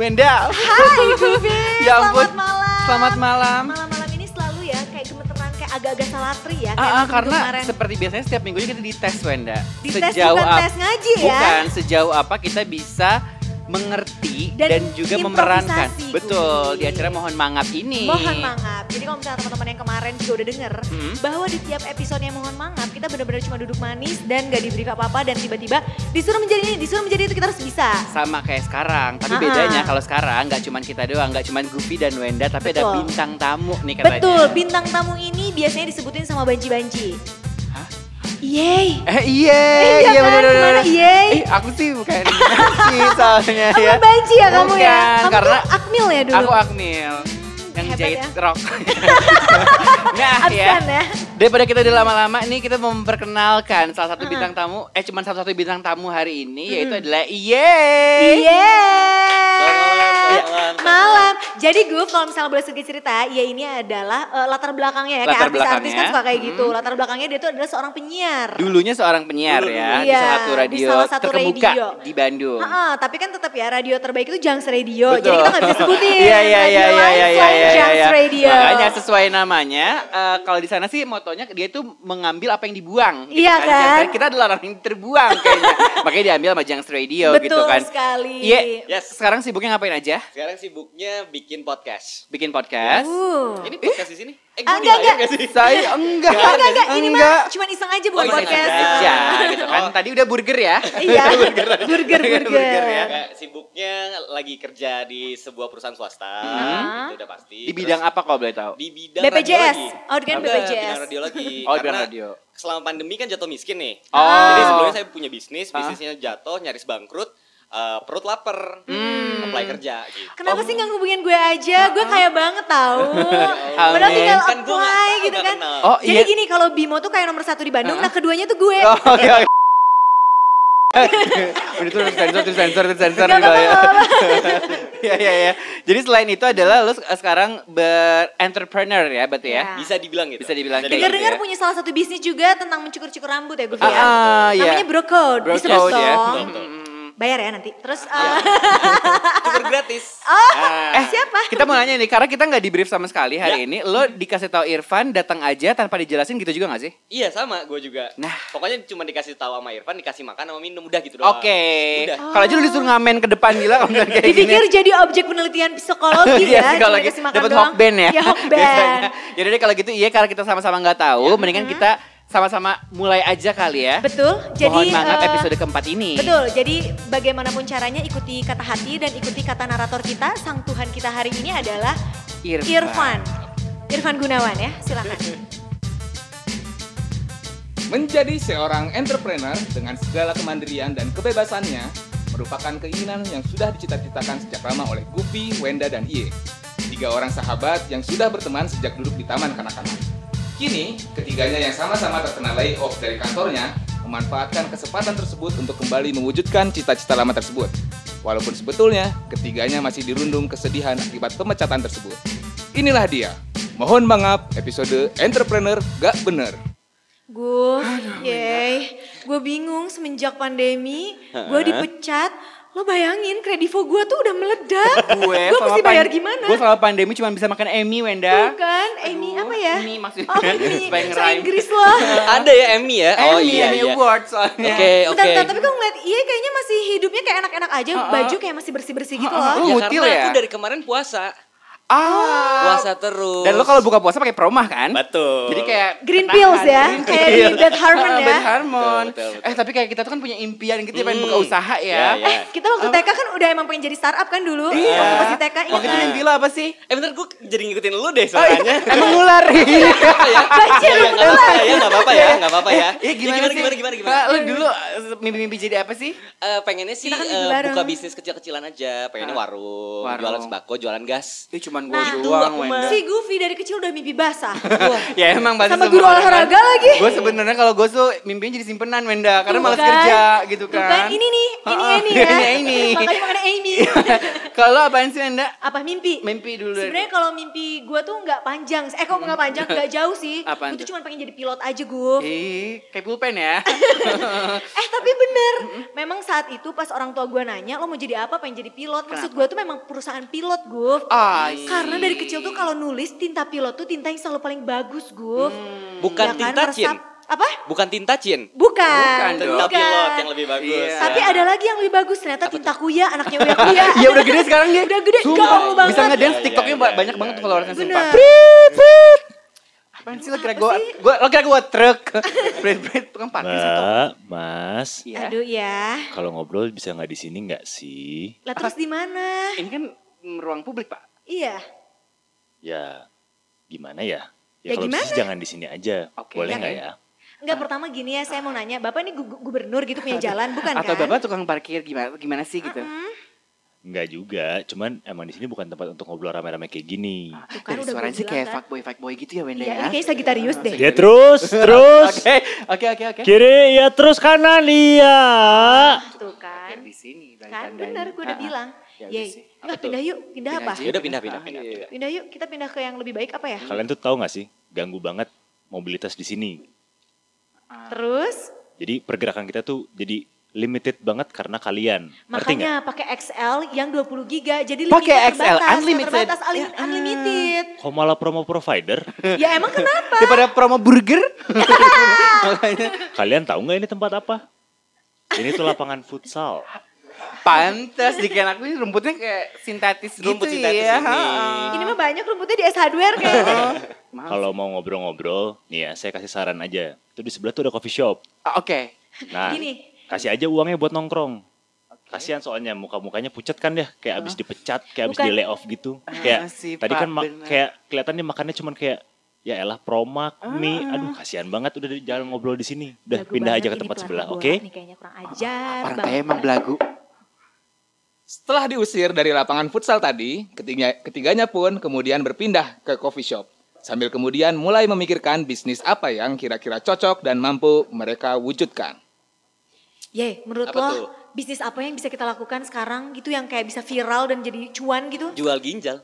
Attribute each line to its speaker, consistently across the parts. Speaker 1: Nenda.
Speaker 2: Hai Juvi,
Speaker 1: Ya ampun.
Speaker 2: selamat malam.
Speaker 1: Selamat malam.
Speaker 2: Malam-malam ini selalu ya kayak gemeteran, kayak agak-agak salatri ya. kayak
Speaker 1: Ah, ah,
Speaker 2: minggu
Speaker 1: karena
Speaker 2: kemarin.
Speaker 1: seperti biasanya setiap minggunya kita dites Wenda.
Speaker 2: Dites bukan
Speaker 1: ap-
Speaker 2: tes ngaji ya.
Speaker 1: Bukan, sejauh apa kita bisa mengerti dan,
Speaker 2: Dan
Speaker 1: juga memerankan.
Speaker 2: improvisasi,
Speaker 1: Betul,
Speaker 2: Gubi.
Speaker 1: di acara Mohon Mangap ini.
Speaker 2: Mohon mangap. Jadi kalau misalnya teman-teman yang kemarin juga udah denger
Speaker 1: Hmm.
Speaker 2: bahwa di tiap episode yang mohon mangap kita benar-benar cuma duduk manis dan gak diberi apa-apa dan tiba-tiba disuruh menjadi ini, disuruh menjadi itu kita harus bisa.
Speaker 1: Sama kayak sekarang, tapi
Speaker 2: Ah.
Speaker 1: bedanya kalau sekarang nggak cuman kita doang, nggak cuman Gupi dan Wenda, tapi ada
Speaker 2: Betul.
Speaker 1: bintang tamu nih katanya.
Speaker 2: Betul, bintang tamu ini biasanya disebutin sama banci-banci.
Speaker 1: Hah?
Speaker 2: Yeay.
Speaker 1: Eh iya,
Speaker 2: Eh, iya kan,
Speaker 1: bener, bener,
Speaker 2: kemarin,
Speaker 1: bener.
Speaker 2: yeay.
Speaker 1: Eh, aku sih bukan sih soalnya
Speaker 2: Kamu
Speaker 1: ya.
Speaker 2: banci ya kamu ya?
Speaker 1: Bukan,
Speaker 2: Kamu
Speaker 1: karena
Speaker 2: tuh akmil ya dulu?
Speaker 1: Aku Akmil yang
Speaker 2: Hebat
Speaker 1: jahit
Speaker 2: ya.
Speaker 1: rok. nah ya,
Speaker 2: Absen ya.
Speaker 1: daripada kita udah lama-lama nih kita mau memperkenalkan salah satu
Speaker 2: Uh-uh.
Speaker 1: bintang tamu. Eh cuman satu-satu bintang tamu hari ini yaitu adalah Iye.
Speaker 2: Yeay.
Speaker 3: Selamat malam, selamat
Speaker 2: Iya. Malam. Jadi gue kalau misalnya boleh sedikit cerita, ya ini adalah eh, latar belakangnya ya. Kayak
Speaker 1: Latar
Speaker 2: artis-artis kan
Speaker 1: belakangnya.
Speaker 2: suka kayak gitu.
Speaker 1: Hmm.
Speaker 2: Latar belakangnya dia tuh adalah seorang penyiar.
Speaker 1: Dulunya seorang penyiar
Speaker 3: Dulu,
Speaker 1: ya di
Speaker 2: Iya,
Speaker 1: salah satu
Speaker 2: di
Speaker 1: radio
Speaker 2: salah satu
Speaker 1: terkemuka
Speaker 2: radio.
Speaker 1: di Bandung.
Speaker 2: Ha-ha, tapi kan tetap ya radio terbaik itu Jungs Radio. Jadi
Speaker 1: Betul.
Speaker 2: kita nggak bisa sebutin.
Speaker 1: Iya iya iya iya
Speaker 2: radio lain
Speaker 1: iya iya
Speaker 2: selain
Speaker 1: iya,
Speaker 2: Junks
Speaker 1: iya.
Speaker 2: Radio.
Speaker 1: Makanya sesuai namanya eh, kalau di sana sih motonya dia tuh mengambil apa yang dibuang. gitu
Speaker 2: Iya kan?
Speaker 1: Dan Kita adalah orang yang terbuang kayaknya. Makanya diambil sama Jungs Radio
Speaker 2: Betul
Speaker 1: gitu kan.
Speaker 2: sekali.
Speaker 1: Iya.
Speaker 3: Yes.
Speaker 1: Sekarang sibuknya ngapain aja?
Speaker 3: Sekarang sibuknya bikin podcast.
Speaker 1: Bikin podcast.
Speaker 2: Uh.
Speaker 3: Ini podcast di sini? Eh,
Speaker 2: Ah, enggak,
Speaker 3: gua dibayar
Speaker 2: enggak.
Speaker 3: nggak sih?
Speaker 1: Saya enggak.
Speaker 2: Oh, Enggak, enggak, enggak. Ini mah
Speaker 1: Enggak.
Speaker 2: cuma iseng aja bukan
Speaker 3: Oh, iseng
Speaker 2: podcast.
Speaker 1: aja gitu kan. Tadi udah burger ya.
Speaker 2: Iya. Burger, burger.
Speaker 1: ya.
Speaker 3: Enggak, sibuknya lagi kerja di sebuah perusahaan swasta.
Speaker 2: Hmm.
Speaker 3: Itu udah pasti.
Speaker 1: Di bidang
Speaker 3: Terus
Speaker 1: apa kalau boleh tahu?
Speaker 3: Di bidang
Speaker 2: BPJS.
Speaker 3: radiologi.
Speaker 2: Oh, di kan
Speaker 3: Enggak,
Speaker 2: BPJS.
Speaker 3: Bidang radiologi.
Speaker 1: Oh, di bidang
Speaker 3: Karena
Speaker 1: radio.
Speaker 3: Selama pandemi kan jatuh miskin nih.
Speaker 1: Oh.
Speaker 3: Jadi sebelumnya saya punya bisnis,
Speaker 1: Hah?
Speaker 3: bisnisnya jatuh, nyaris bangkrut, eh, perut lapar, apply kerja gitu.
Speaker 2: Kenapa sih nggak ngubungin gue aja? Gue kaya banget tau.
Speaker 1: Allah.
Speaker 2: Padahal tinggal
Speaker 3: Oh. Kan gua
Speaker 2: apply
Speaker 3: nggak-
Speaker 2: gitu
Speaker 3: nggak
Speaker 2: kan.
Speaker 3: kenal.
Speaker 1: Oh,
Speaker 2: Jadi
Speaker 1: iya.
Speaker 2: gini kalau Bimo tuh kayak nomor satu di Bandung,
Speaker 1: Hah?
Speaker 2: nah keduanya tuh gue.
Speaker 1: Oh, oke
Speaker 3: iya,
Speaker 1: oke. Udah terus sensor, terus sensor, terus sensor
Speaker 2: Gak
Speaker 1: gitu
Speaker 2: apa-apa,
Speaker 1: ya.
Speaker 2: gak apa-apa.
Speaker 1: Iya, iya, iya. Jadi selain itu adalah lu sekarang ber-entrepreneur ya berarti ya?
Speaker 2: Iya.
Speaker 3: Bisa dibilang gitu.
Speaker 1: Bisa dibilang kayak
Speaker 3: dibilang.
Speaker 2: Dengar-dengar
Speaker 1: ya.
Speaker 2: punya salah satu bisnis juga tentang mencukur-cukur rambut ya gue
Speaker 1: Ah,
Speaker 2: ya.
Speaker 1: ah, iya.
Speaker 2: Namanya Bro Code,
Speaker 1: Bro
Speaker 2: disebut
Speaker 1: Code ya.
Speaker 2: dong.
Speaker 3: Betul, betul.
Speaker 2: Bayar ya nanti. Terus eh,
Speaker 3: Iya. Cukur gratis.
Speaker 2: oh,
Speaker 1: Eh,
Speaker 3: Ah.
Speaker 2: siapa?
Speaker 1: Kita mau nanya nih, karena kita nggak di brief sama sekali hari
Speaker 3: Ya.
Speaker 1: ini. Lo dikasih tahu Irfan datang aja tanpa dijelasin gitu juga nggak sih?
Speaker 3: Iya sama, gue juga.
Speaker 1: Nah.
Speaker 3: Pokoknya cuma dikasih tahu sama Irfan, dikasih makan sama minum, udah gitu doang.
Speaker 1: Oke.
Speaker 3: Udah.
Speaker 1: Kalau aja lu disuruh ngamen ke depan gila kalau misalnya kayak gini.
Speaker 2: Dipikir jadi objek penelitian psikologi
Speaker 1: Iya,
Speaker 2: ya, cuma
Speaker 1: psikologi.
Speaker 2: dikasih makan
Speaker 1: Dapat
Speaker 2: doang.
Speaker 1: hokben ya.
Speaker 2: Ya hokben.
Speaker 1: Biasanya. Jadi deh kalau gitu iya karena kita sama-sama nggak tahu, mendingan kita sama-sama mulai aja kali ya.
Speaker 2: Ya. Betul. Jadi
Speaker 1: Mohon banget
Speaker 2: eh,
Speaker 1: episode keempat ini.
Speaker 2: Betul, jadi bagaimanapun caranya ikuti kata hati dan ikuti kata narator kita, sang Tuhan kita hari ini adalah
Speaker 1: Irfan.
Speaker 2: Irfan. Irfan Gunawan ya, silakan.
Speaker 4: Menjadi seorang entrepreneur dengan segala kemandirian dan kebebasannya merupakan keinginan yang sudah dicita-citakan sejak lama oleh Gupi, Wenda, dan Iye. Tiga orang sahabat yang sudah berteman sejak duduk di taman kanak-kanak. Kini, ketiganya yang sama-sama terkena layoff dari kantornya memanfaatkan kesempatan tersebut untuk kembali mewujudkan cita-cita lama tersebut. Walaupun sebetulnya ketiganya masih dirundung kesedihan akibat pemecatan tersebut. Inilah dia. Mohon mangap episode Entrepreneur Gak Bener.
Speaker 2: Gue, yey, gue bingung semenjak pandemi, gue dipecat. Lo bayangin kredivo gue tuh udah meledak.
Speaker 1: gue
Speaker 2: gue mesti bayar
Speaker 1: pan-
Speaker 2: gimana?
Speaker 1: Gue selama pandemi cuma bisa makan Emmy, Wenda.
Speaker 2: Tuh kan, Amy apa ya?
Speaker 1: Emmy maksudnya.
Speaker 2: Oh, Amy,
Speaker 1: Supaya
Speaker 2: so
Speaker 1: ngerhyme.
Speaker 2: Inggris loh.
Speaker 3: Ada ya Emmy ya? oh
Speaker 1: Emmy,
Speaker 3: iya
Speaker 1: Emmy
Speaker 3: iya.
Speaker 1: Award soalnya.
Speaker 3: Oke
Speaker 2: Bentar,
Speaker 3: oke.
Speaker 2: bentar, tapi gue ngeliat iya kayaknya masih hidupnya kayak enak-enak aja,
Speaker 1: Ha-ha.
Speaker 2: baju kayak masih bersih-bersih gitu
Speaker 1: Ha-ha.
Speaker 2: loh.
Speaker 1: Lu
Speaker 3: Ya,
Speaker 1: ngutil
Speaker 3: karena
Speaker 1: ya?
Speaker 3: aku dari kemarin puasa.
Speaker 1: Ah.
Speaker 3: Puasa terus.
Speaker 1: Dan lo kalau buka puasa pakai promah kan?
Speaker 3: Betul.
Speaker 1: Jadi kayak
Speaker 2: Green
Speaker 1: ketahan,
Speaker 2: pills ya,
Speaker 1: green
Speaker 2: kayak
Speaker 1: pill.
Speaker 2: di Bad Harmon
Speaker 1: Ah,
Speaker 2: ya.
Speaker 1: Bad Harmon.
Speaker 3: Betul, betul, betul.
Speaker 1: Eh tapi kayak kita tuh kan punya impian gitu pengen
Speaker 3: Hmm.
Speaker 1: buka usaha ya.
Speaker 3: Ya, ya.
Speaker 2: Eh, kita waktu TK kan udah emang pengen jadi startup kan dulu.
Speaker 1: Iya.
Speaker 2: Waktu masih TK ingat
Speaker 1: Waktu itu
Speaker 2: kan?
Speaker 1: mimpi lo apa sih?
Speaker 3: Eh bentar gue jadi ngikutin lu deh
Speaker 1: Oh, iya.
Speaker 3: soalnya.
Speaker 1: Emang ular. Iya.
Speaker 2: Banjir
Speaker 3: Iya, nggak apa-apa ya, nggak apa-apa ya, nggak apa-apa ya.
Speaker 1: Iya gimana,
Speaker 3: gimana,
Speaker 1: sih?
Speaker 3: gimana, gimana, gimana?
Speaker 1: Pak, Lo dulu eh, mimpi-mimpi jadi apa sih?
Speaker 3: Eh, pengennya sih
Speaker 2: Kita kan
Speaker 3: eh,
Speaker 2: hidup bareng.
Speaker 3: buka bisnis kecil-kecilan aja. Pengennya
Speaker 1: Ah.
Speaker 3: warung,
Speaker 1: Warung.
Speaker 3: jualan sembako, jualan gas.
Speaker 1: Itu cuman gue
Speaker 2: Nah, itu
Speaker 1: doang,
Speaker 3: aku
Speaker 1: Wenda.
Speaker 2: si Goofy dari kecil udah mimpi basah.
Speaker 1: ya emang pasti
Speaker 2: Sama guru olahraga lagi.
Speaker 1: Gue sebenarnya kalau gue tuh mimpinya jadi simpenan Wenda karena
Speaker 2: Tuh
Speaker 1: malas
Speaker 2: kan,
Speaker 1: kerja gitu
Speaker 2: tuh
Speaker 1: kan.
Speaker 2: Ini nih ini
Speaker 1: Oh,
Speaker 2: ini ya.
Speaker 1: ini, ini.
Speaker 2: Makanya makan ini.
Speaker 1: Kalau apaan sih Anda?
Speaker 2: Apa mimpi?
Speaker 1: Mimpi dulu. Hmm.
Speaker 2: Sebenarnya kalau mimpi gue tuh nggak panjang. Eh kok nggak panjang? Nggak jauh sih.
Speaker 1: Apaan
Speaker 2: Gue tuh
Speaker 1: tuh?
Speaker 2: cuma pengen jadi pilot aja gue.
Speaker 1: Ih, kayak pulpen ya.
Speaker 2: Eh tapi bener, memang saat itu pas orang tua gue nanya lo mau jadi apa pengen jadi pilot. Maksud gue tuh memang perusahaan pilot gue.
Speaker 1: Ah,
Speaker 3: Iya.
Speaker 2: Karena dari kecil tuh kalau nulis tinta pilot tuh tinta yang selalu paling bagus gue.
Speaker 3: Hmm. Bukan tinta, Cin.
Speaker 2: Apa?
Speaker 3: Bukan tinta Cin.
Speaker 2: Bukan.
Speaker 1: Bukan dong.
Speaker 3: Tinta pilot yang lebih bagus. Ya.
Speaker 1: Iya.
Speaker 2: Tapi ada lagi yang lebih bagus ternyata tinta kuya anaknya Uya Kuya.
Speaker 1: ya udah gede sekarang dia.
Speaker 2: Udah gede, gaul banget.
Speaker 1: Bisa ngedance
Speaker 3: Iya,
Speaker 1: TikToknya
Speaker 3: iya,
Speaker 1: ba- banyak
Speaker 3: iya,
Speaker 1: banget tuh
Speaker 3: iya.
Speaker 1: followersnya sumpah.
Speaker 2: Bener.
Speaker 1: Apaan sih lo kira gue, gue lo kira gue truk, berit-berit tukang parkir atau
Speaker 5: Mbak, Mas,
Speaker 1: Iya.
Speaker 2: Aduh ya.
Speaker 5: kalau ngobrol bisa nggak di sini nggak sih?
Speaker 2: Lah terus di mana?
Speaker 1: Ini kan mm, ruang publik pak.
Speaker 2: Iya.
Speaker 5: Ya, gimana ya?
Speaker 2: Ya
Speaker 5: Ya, kalau bisa
Speaker 2: gimana?
Speaker 5: sih jangan di sini aja.
Speaker 1: Oke. Ya
Speaker 5: Boleh nggak
Speaker 1: kan?
Speaker 5: ya?
Speaker 2: Enggak pertama gini ya, saya mau nanya, Bapak ini gu- gubernur gitu punya jalan bukan
Speaker 1: Atau
Speaker 2: kan?
Speaker 1: bapak tukang parkir gimana gimana sih gitu?
Speaker 5: Nggak juga, cuman emang di sini bukan tempat untuk ngobrol rame-rame kayak gini.
Speaker 2: Tuh kan
Speaker 1: Dari
Speaker 2: udah
Speaker 1: suaranya
Speaker 2: gue
Speaker 1: sih
Speaker 2: bilang
Speaker 1: kayak
Speaker 2: kan.
Speaker 1: fuckboy fuckboy gitu ya Wenda
Speaker 2: Iya, ini
Speaker 1: ya.
Speaker 2: kayaknya Sagitarius deh.
Speaker 5: Ya terus, terus.
Speaker 1: Oke oke oke oke.
Speaker 5: Kiri, ya terus kanan, iya.
Speaker 2: Tuh kan.
Speaker 1: Di sini. dari
Speaker 2: Kan
Speaker 1: tandanya.
Speaker 2: bener gue udah
Speaker 1: Ah, ah.
Speaker 2: bilang.
Speaker 1: Ya udah
Speaker 2: Yeay,
Speaker 1: sih.
Speaker 2: enggak pindah yuk. Pindah
Speaker 1: Pindah
Speaker 2: apa?
Speaker 1: aja.
Speaker 3: Ya udah pindah pindah
Speaker 1: Ah,
Speaker 3: pindah.
Speaker 1: iya, iya.
Speaker 2: Pindah yuk, kita pindah ke yang lebih baik apa ya?
Speaker 5: Kalian tuh tahu nggak sih, ganggu banget mobilitas di sini.
Speaker 2: Terus
Speaker 5: Jadi pergerakan kita tuh jadi limited banget karena kalian. Ngerti
Speaker 2: makanya
Speaker 5: nggak?
Speaker 2: pakai XL yang 20 giga jadi
Speaker 1: Pakai
Speaker 2: limitnya
Speaker 1: XL,
Speaker 2: terbatas, nggak
Speaker 1: unlimited.
Speaker 2: terbatas, ali-
Speaker 1: Ya, ah.
Speaker 2: unlimited.
Speaker 5: Kok malah promo provider?
Speaker 2: Ya emang kenapa?
Speaker 1: Daripada promo burger. Makanya
Speaker 5: Kalian tahu nggak ini tempat apa? Ini tuh lapangan futsal.
Speaker 1: pantas dikain aku ini rumputnya kayak sintetis
Speaker 3: Rumput
Speaker 1: gitu
Speaker 3: sintetis
Speaker 1: ya.
Speaker 3: ini.
Speaker 1: ha-ha.
Speaker 2: Ini mah banyak rumputnya di S Hardware kayaknya.
Speaker 1: Mahal
Speaker 5: Kalau mau ngobrol-ngobrol, nih ya saya kasih saran aja. Itu di sebelah tuh ada coffee shop.
Speaker 1: Ah, Oke.
Speaker 5: Nah,
Speaker 2: Gini.
Speaker 5: kasih aja uangnya buat nongkrong. Kasihan soalnya muka-mukanya pucat kan ya, kayak abis dipecat, kayak abis
Speaker 2: Bukan.
Speaker 5: di layoff gitu.
Speaker 1: Ah,
Speaker 5: Kayak
Speaker 1: sih,
Speaker 5: tadi
Speaker 1: Pak,
Speaker 5: kan mak-
Speaker 1: bener.
Speaker 5: kayak kelihatannya makannya cuman kayak ya elah promak
Speaker 2: Ah,
Speaker 5: mie. Aduh, kasihan banget udah di- jangan ngobrol di sini. Udah
Speaker 2: Belagu
Speaker 5: pindah
Speaker 2: banget
Speaker 5: aja ke
Speaker 2: ini
Speaker 5: tempat
Speaker 2: pelaku
Speaker 5: sebelah,
Speaker 2: bola
Speaker 5: oke?
Speaker 2: nih, kayaknya kurang ajar.
Speaker 1: Orang
Speaker 2: banget.
Speaker 1: kaya emang belagu.
Speaker 4: Setelah diusir dari lapangan futsal tadi, ketiga, ketiganya pun kemudian berpindah ke coffee shop. Sambil kemudian mulai memikirkan bisnis apa yang kira-kira cocok dan mampu mereka wujudkan.
Speaker 2: Ye, menurut
Speaker 3: Apa
Speaker 2: lo
Speaker 3: tuh?
Speaker 2: bisnis apa yang bisa kita lakukan sekarang gitu yang kayak bisa viral dan jadi cuan gitu?
Speaker 3: Jual ginjal.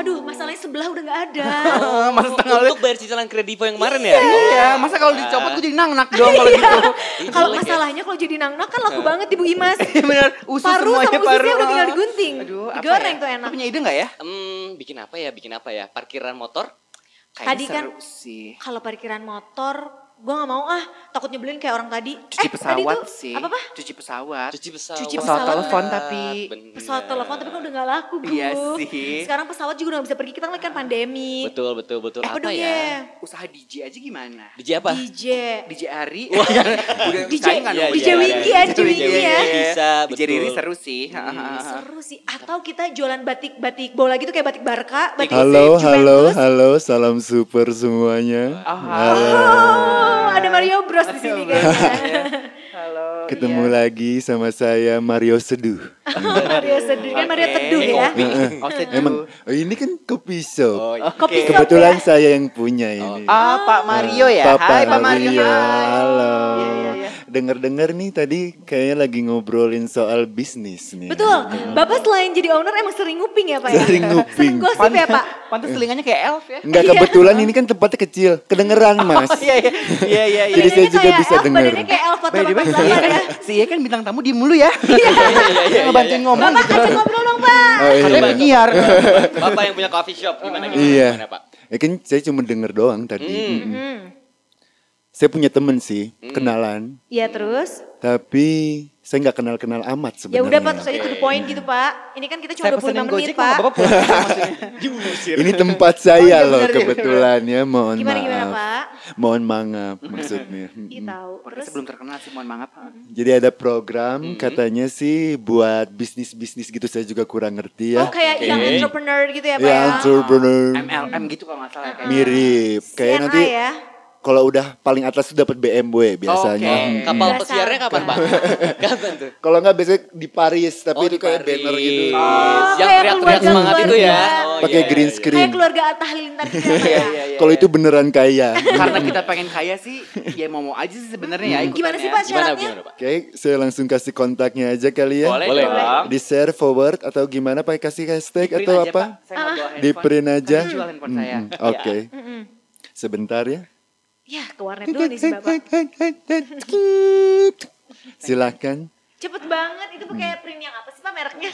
Speaker 2: Aduh, masalahnya sebelah udah nggak ada.
Speaker 1: Ah, Masa setengah lu.
Speaker 3: Untuk bayar cicilan kredivo yang kemarin ya.
Speaker 1: Iya, masa kalau dicopot gue jadi nangnak dong kalau gitu.
Speaker 2: Iya.
Speaker 3: Ih,
Speaker 2: kalau
Speaker 3: jelek ya.
Speaker 2: masalahnya kalau jadi nangnak kan laku banget di Bu Imas.
Speaker 1: Iya benar, usus
Speaker 2: Paru sama
Speaker 1: semuanya
Speaker 2: ususnya
Speaker 1: paru.
Speaker 2: udah tinggal digunting.
Speaker 1: Aduh, apa
Speaker 2: Digoreng
Speaker 1: ya?
Speaker 2: tuh enak.
Speaker 1: Lu punya ide nggak ya?
Speaker 3: Hmm, bikin apa ya? Bikin apa ya? Parkiran motor?
Speaker 1: Kayaknya
Speaker 2: Tadi kan-
Speaker 1: seru sih.
Speaker 2: Kalau parkiran motor, gua nggak mau ah, takut nyebelin kayak orang tadi.
Speaker 1: Cuci
Speaker 2: Eh, tadi
Speaker 1: pesawat
Speaker 2: tuh,
Speaker 1: sih.
Speaker 2: Apa apa?
Speaker 1: Cuci pesawat.
Speaker 3: Cuci pesawat.
Speaker 2: Cuci pesawat
Speaker 1: telepon tapi.
Speaker 3: Bener.
Speaker 2: Pesawat telepon tapi kan udah nggak laku, Bu.
Speaker 1: Iya sih.
Speaker 2: Sekarang pesawat juga udah nggak bisa pergi, kita ngeliat kan pandemi.
Speaker 3: Betul, betul, betul.
Speaker 2: Eh,
Speaker 3: apa
Speaker 2: aduh,
Speaker 3: ya?
Speaker 2: Ye.
Speaker 1: Usaha DJ aja gimana? kan.
Speaker 3: DJ apa?
Speaker 2: DJ.
Speaker 1: DJ Ari. Udah
Speaker 2: DJ,
Speaker 1: saingan
Speaker 3: iya,
Speaker 1: dong.
Speaker 2: DJ
Speaker 3: iya,
Speaker 2: Winky
Speaker 3: iya.
Speaker 2: ya, DJ Winky ya.
Speaker 3: Bisa,
Speaker 1: DJ Riri
Speaker 3: betul.
Speaker 1: seru sih. ha, ha, ha.
Speaker 2: Seru sih. Atau kita jualan batik-batik bola gitu kayak batik Barca,
Speaker 1: Iya,
Speaker 2: batik
Speaker 6: Halo,
Speaker 2: Juventus.
Speaker 6: Oh, halo, halo, salam super semuanya.
Speaker 2: Oh, ada Mario Bros di sini kayaknya.
Speaker 1: Halo.
Speaker 2: iya.
Speaker 1: iya.
Speaker 6: Ketemu lagi sama saya Mario Seduh.
Speaker 2: Mario seduh kan Mario
Speaker 1: Oke.
Speaker 2: teduh ya.
Speaker 1: Kopi. Oh,
Speaker 6: Emang
Speaker 1: Emang
Speaker 6: oh, ini kan kopi shop.
Speaker 2: Kopi shop ya?
Speaker 6: Kebetulan saya yang punya ini.
Speaker 1: Oh, iya.
Speaker 2: Oh.
Speaker 1: Ah, Pak Mario ya. Hai Pak Mario. Hai.
Speaker 6: Halo.
Speaker 1: Iya, iya, iya.
Speaker 6: Dengar-dengar nih tadi kayaknya lagi ngobrolin soal bisnis nih.
Speaker 2: Betul. Bapak selain jadi owner emang sering nguping ya, Pak ya?
Speaker 6: Sering nguping.
Speaker 2: Sering gosip ya, Pak?
Speaker 1: Pantas telingannya kayak elf ya.
Speaker 6: Enggak
Speaker 2: Iya. Oh,
Speaker 6: kebetulan ini kan tempatnya kecil, kedengeran Mas.
Speaker 1: Iya iya iya iya. iya.
Speaker 6: Jadi saya
Speaker 2: Badannya
Speaker 6: juga
Speaker 2: kayak
Speaker 6: bisa
Speaker 2: elf,
Speaker 6: dengar.
Speaker 2: Badannya kayak elf foto
Speaker 1: By the way, si Iya
Speaker 2: 88
Speaker 1: kan,
Speaker 2: ya.
Speaker 1: si Iya kan bintang tamu di mulu ya. Iya. Ngebantuin ngomong
Speaker 2: Bapak
Speaker 1: gitu.
Speaker 2: ajak ngobrol dong, Pak.
Speaker 6: Oh,
Speaker 1: Katanya
Speaker 6: iya.
Speaker 1: penyiar.
Speaker 3: Bapak yang punya coffee shop gimana gimana,
Speaker 6: Iya.
Speaker 3: gimana Pak?
Speaker 6: Ya kan saya cuma denger doang tadi. Mm.
Speaker 2: Hmm.
Speaker 6: Saya punya temen sih,
Speaker 1: Hmm.
Speaker 6: kenalan.
Speaker 2: Ya terus,
Speaker 6: Tapi saya nggak kenal-kenal amat
Speaker 2: ya
Speaker 6: sebenarnya.
Speaker 2: udah Pak terus aja to the point gitu Pak. Ini kan kita
Speaker 1: Saya
Speaker 2: cuma
Speaker 1: pesenin
Speaker 2: 25
Speaker 1: Gojek
Speaker 2: menit
Speaker 1: kok
Speaker 2: Pak.
Speaker 1: bapak pulang maksudnya.
Speaker 6: Ini tempat saya
Speaker 1: Oh, iya,
Speaker 6: loh
Speaker 1: benar, iya,
Speaker 6: kebetulan ya, mohon
Speaker 2: Gimana
Speaker 6: maaf.
Speaker 2: gimana Pak?
Speaker 6: Mohon maaf maksudnya.
Speaker 2: Iya tahu. Terus Hmm.
Speaker 1: Terus belum terkenal sih mohon maaf.
Speaker 6: Jadi ada program
Speaker 3: Mm-hmm.
Speaker 6: katanya sih buat bisnis-bisnis gitu saya juga kurang ngerti ya.
Speaker 2: Oh kayak yang
Speaker 3: Oke.
Speaker 2: entrepreneur gitu ya Pak
Speaker 6: ya
Speaker 2: ya?
Speaker 6: entrepreneur
Speaker 1: MLM gitu kalau nggak salah kayak.
Speaker 6: mirip. Kayak
Speaker 2: CNI
Speaker 6: nanti
Speaker 2: ya.
Speaker 6: kalau udah paling atas tuh dapat BMW biasanya. Hmm.
Speaker 3: Oke. Eh, Kapal
Speaker 2: Biasa.
Speaker 3: pesiarnya kapan bang? Kapan tuh?
Speaker 6: Kalau nggak biasanya di Paris, tapi
Speaker 3: Oh,
Speaker 6: itu
Speaker 3: di
Speaker 6: kayak banner
Speaker 3: Paris.
Speaker 2: Oh,
Speaker 3: Ah,
Speaker 6: gitu.
Speaker 3: Yang
Speaker 2: kayak
Speaker 3: teriak-teriak
Speaker 2: keluarga-
Speaker 3: semangat itu ya.
Speaker 2: keluarga.
Speaker 3: Oh,
Speaker 6: Pakai
Speaker 3: iya,
Speaker 6: green
Speaker 3: iya,
Speaker 6: screen.
Speaker 2: Kayak keluarga Atta Halilintar kita
Speaker 3: iya,
Speaker 2: ya.
Speaker 3: iya, iya,
Speaker 6: Kalau
Speaker 3: iya.
Speaker 6: itu beneran ya. kaya.
Speaker 1: Karena kita pengen kaya sih, ya mau mau aja sih sebenarnya ya. ikutan
Speaker 2: Gimana sih
Speaker 1: ya.
Speaker 2: Pak
Speaker 3: gimana
Speaker 2: syaratnya?
Speaker 3: gimana pak?
Speaker 6: Oke, saya langsung kasih kontaknya aja kali ya.
Speaker 1: Boleh,
Speaker 3: Boleh,
Speaker 1: dong.
Speaker 3: Bang.
Speaker 6: Di share forward atau gimana pakai kasih hashtag
Speaker 1: Di-print
Speaker 6: atau
Speaker 1: aja, Pak.
Speaker 6: apa?
Speaker 1: Saya nggak
Speaker 2: Ah.
Speaker 1: bawa
Speaker 6: Di
Speaker 1: handphone.
Speaker 6: print aja. Hmm.
Speaker 1: Saya jual handphone saya.
Speaker 6: Mm-mm.
Speaker 1: Ya.
Speaker 6: Oke.
Speaker 2: Mm-mm.
Speaker 6: Sebentar ya.
Speaker 2: Ya ke warnet dulu nih si bapak.
Speaker 6: Silakan.
Speaker 2: Cepet banget itu pakai print yang apa sih pak mereknya?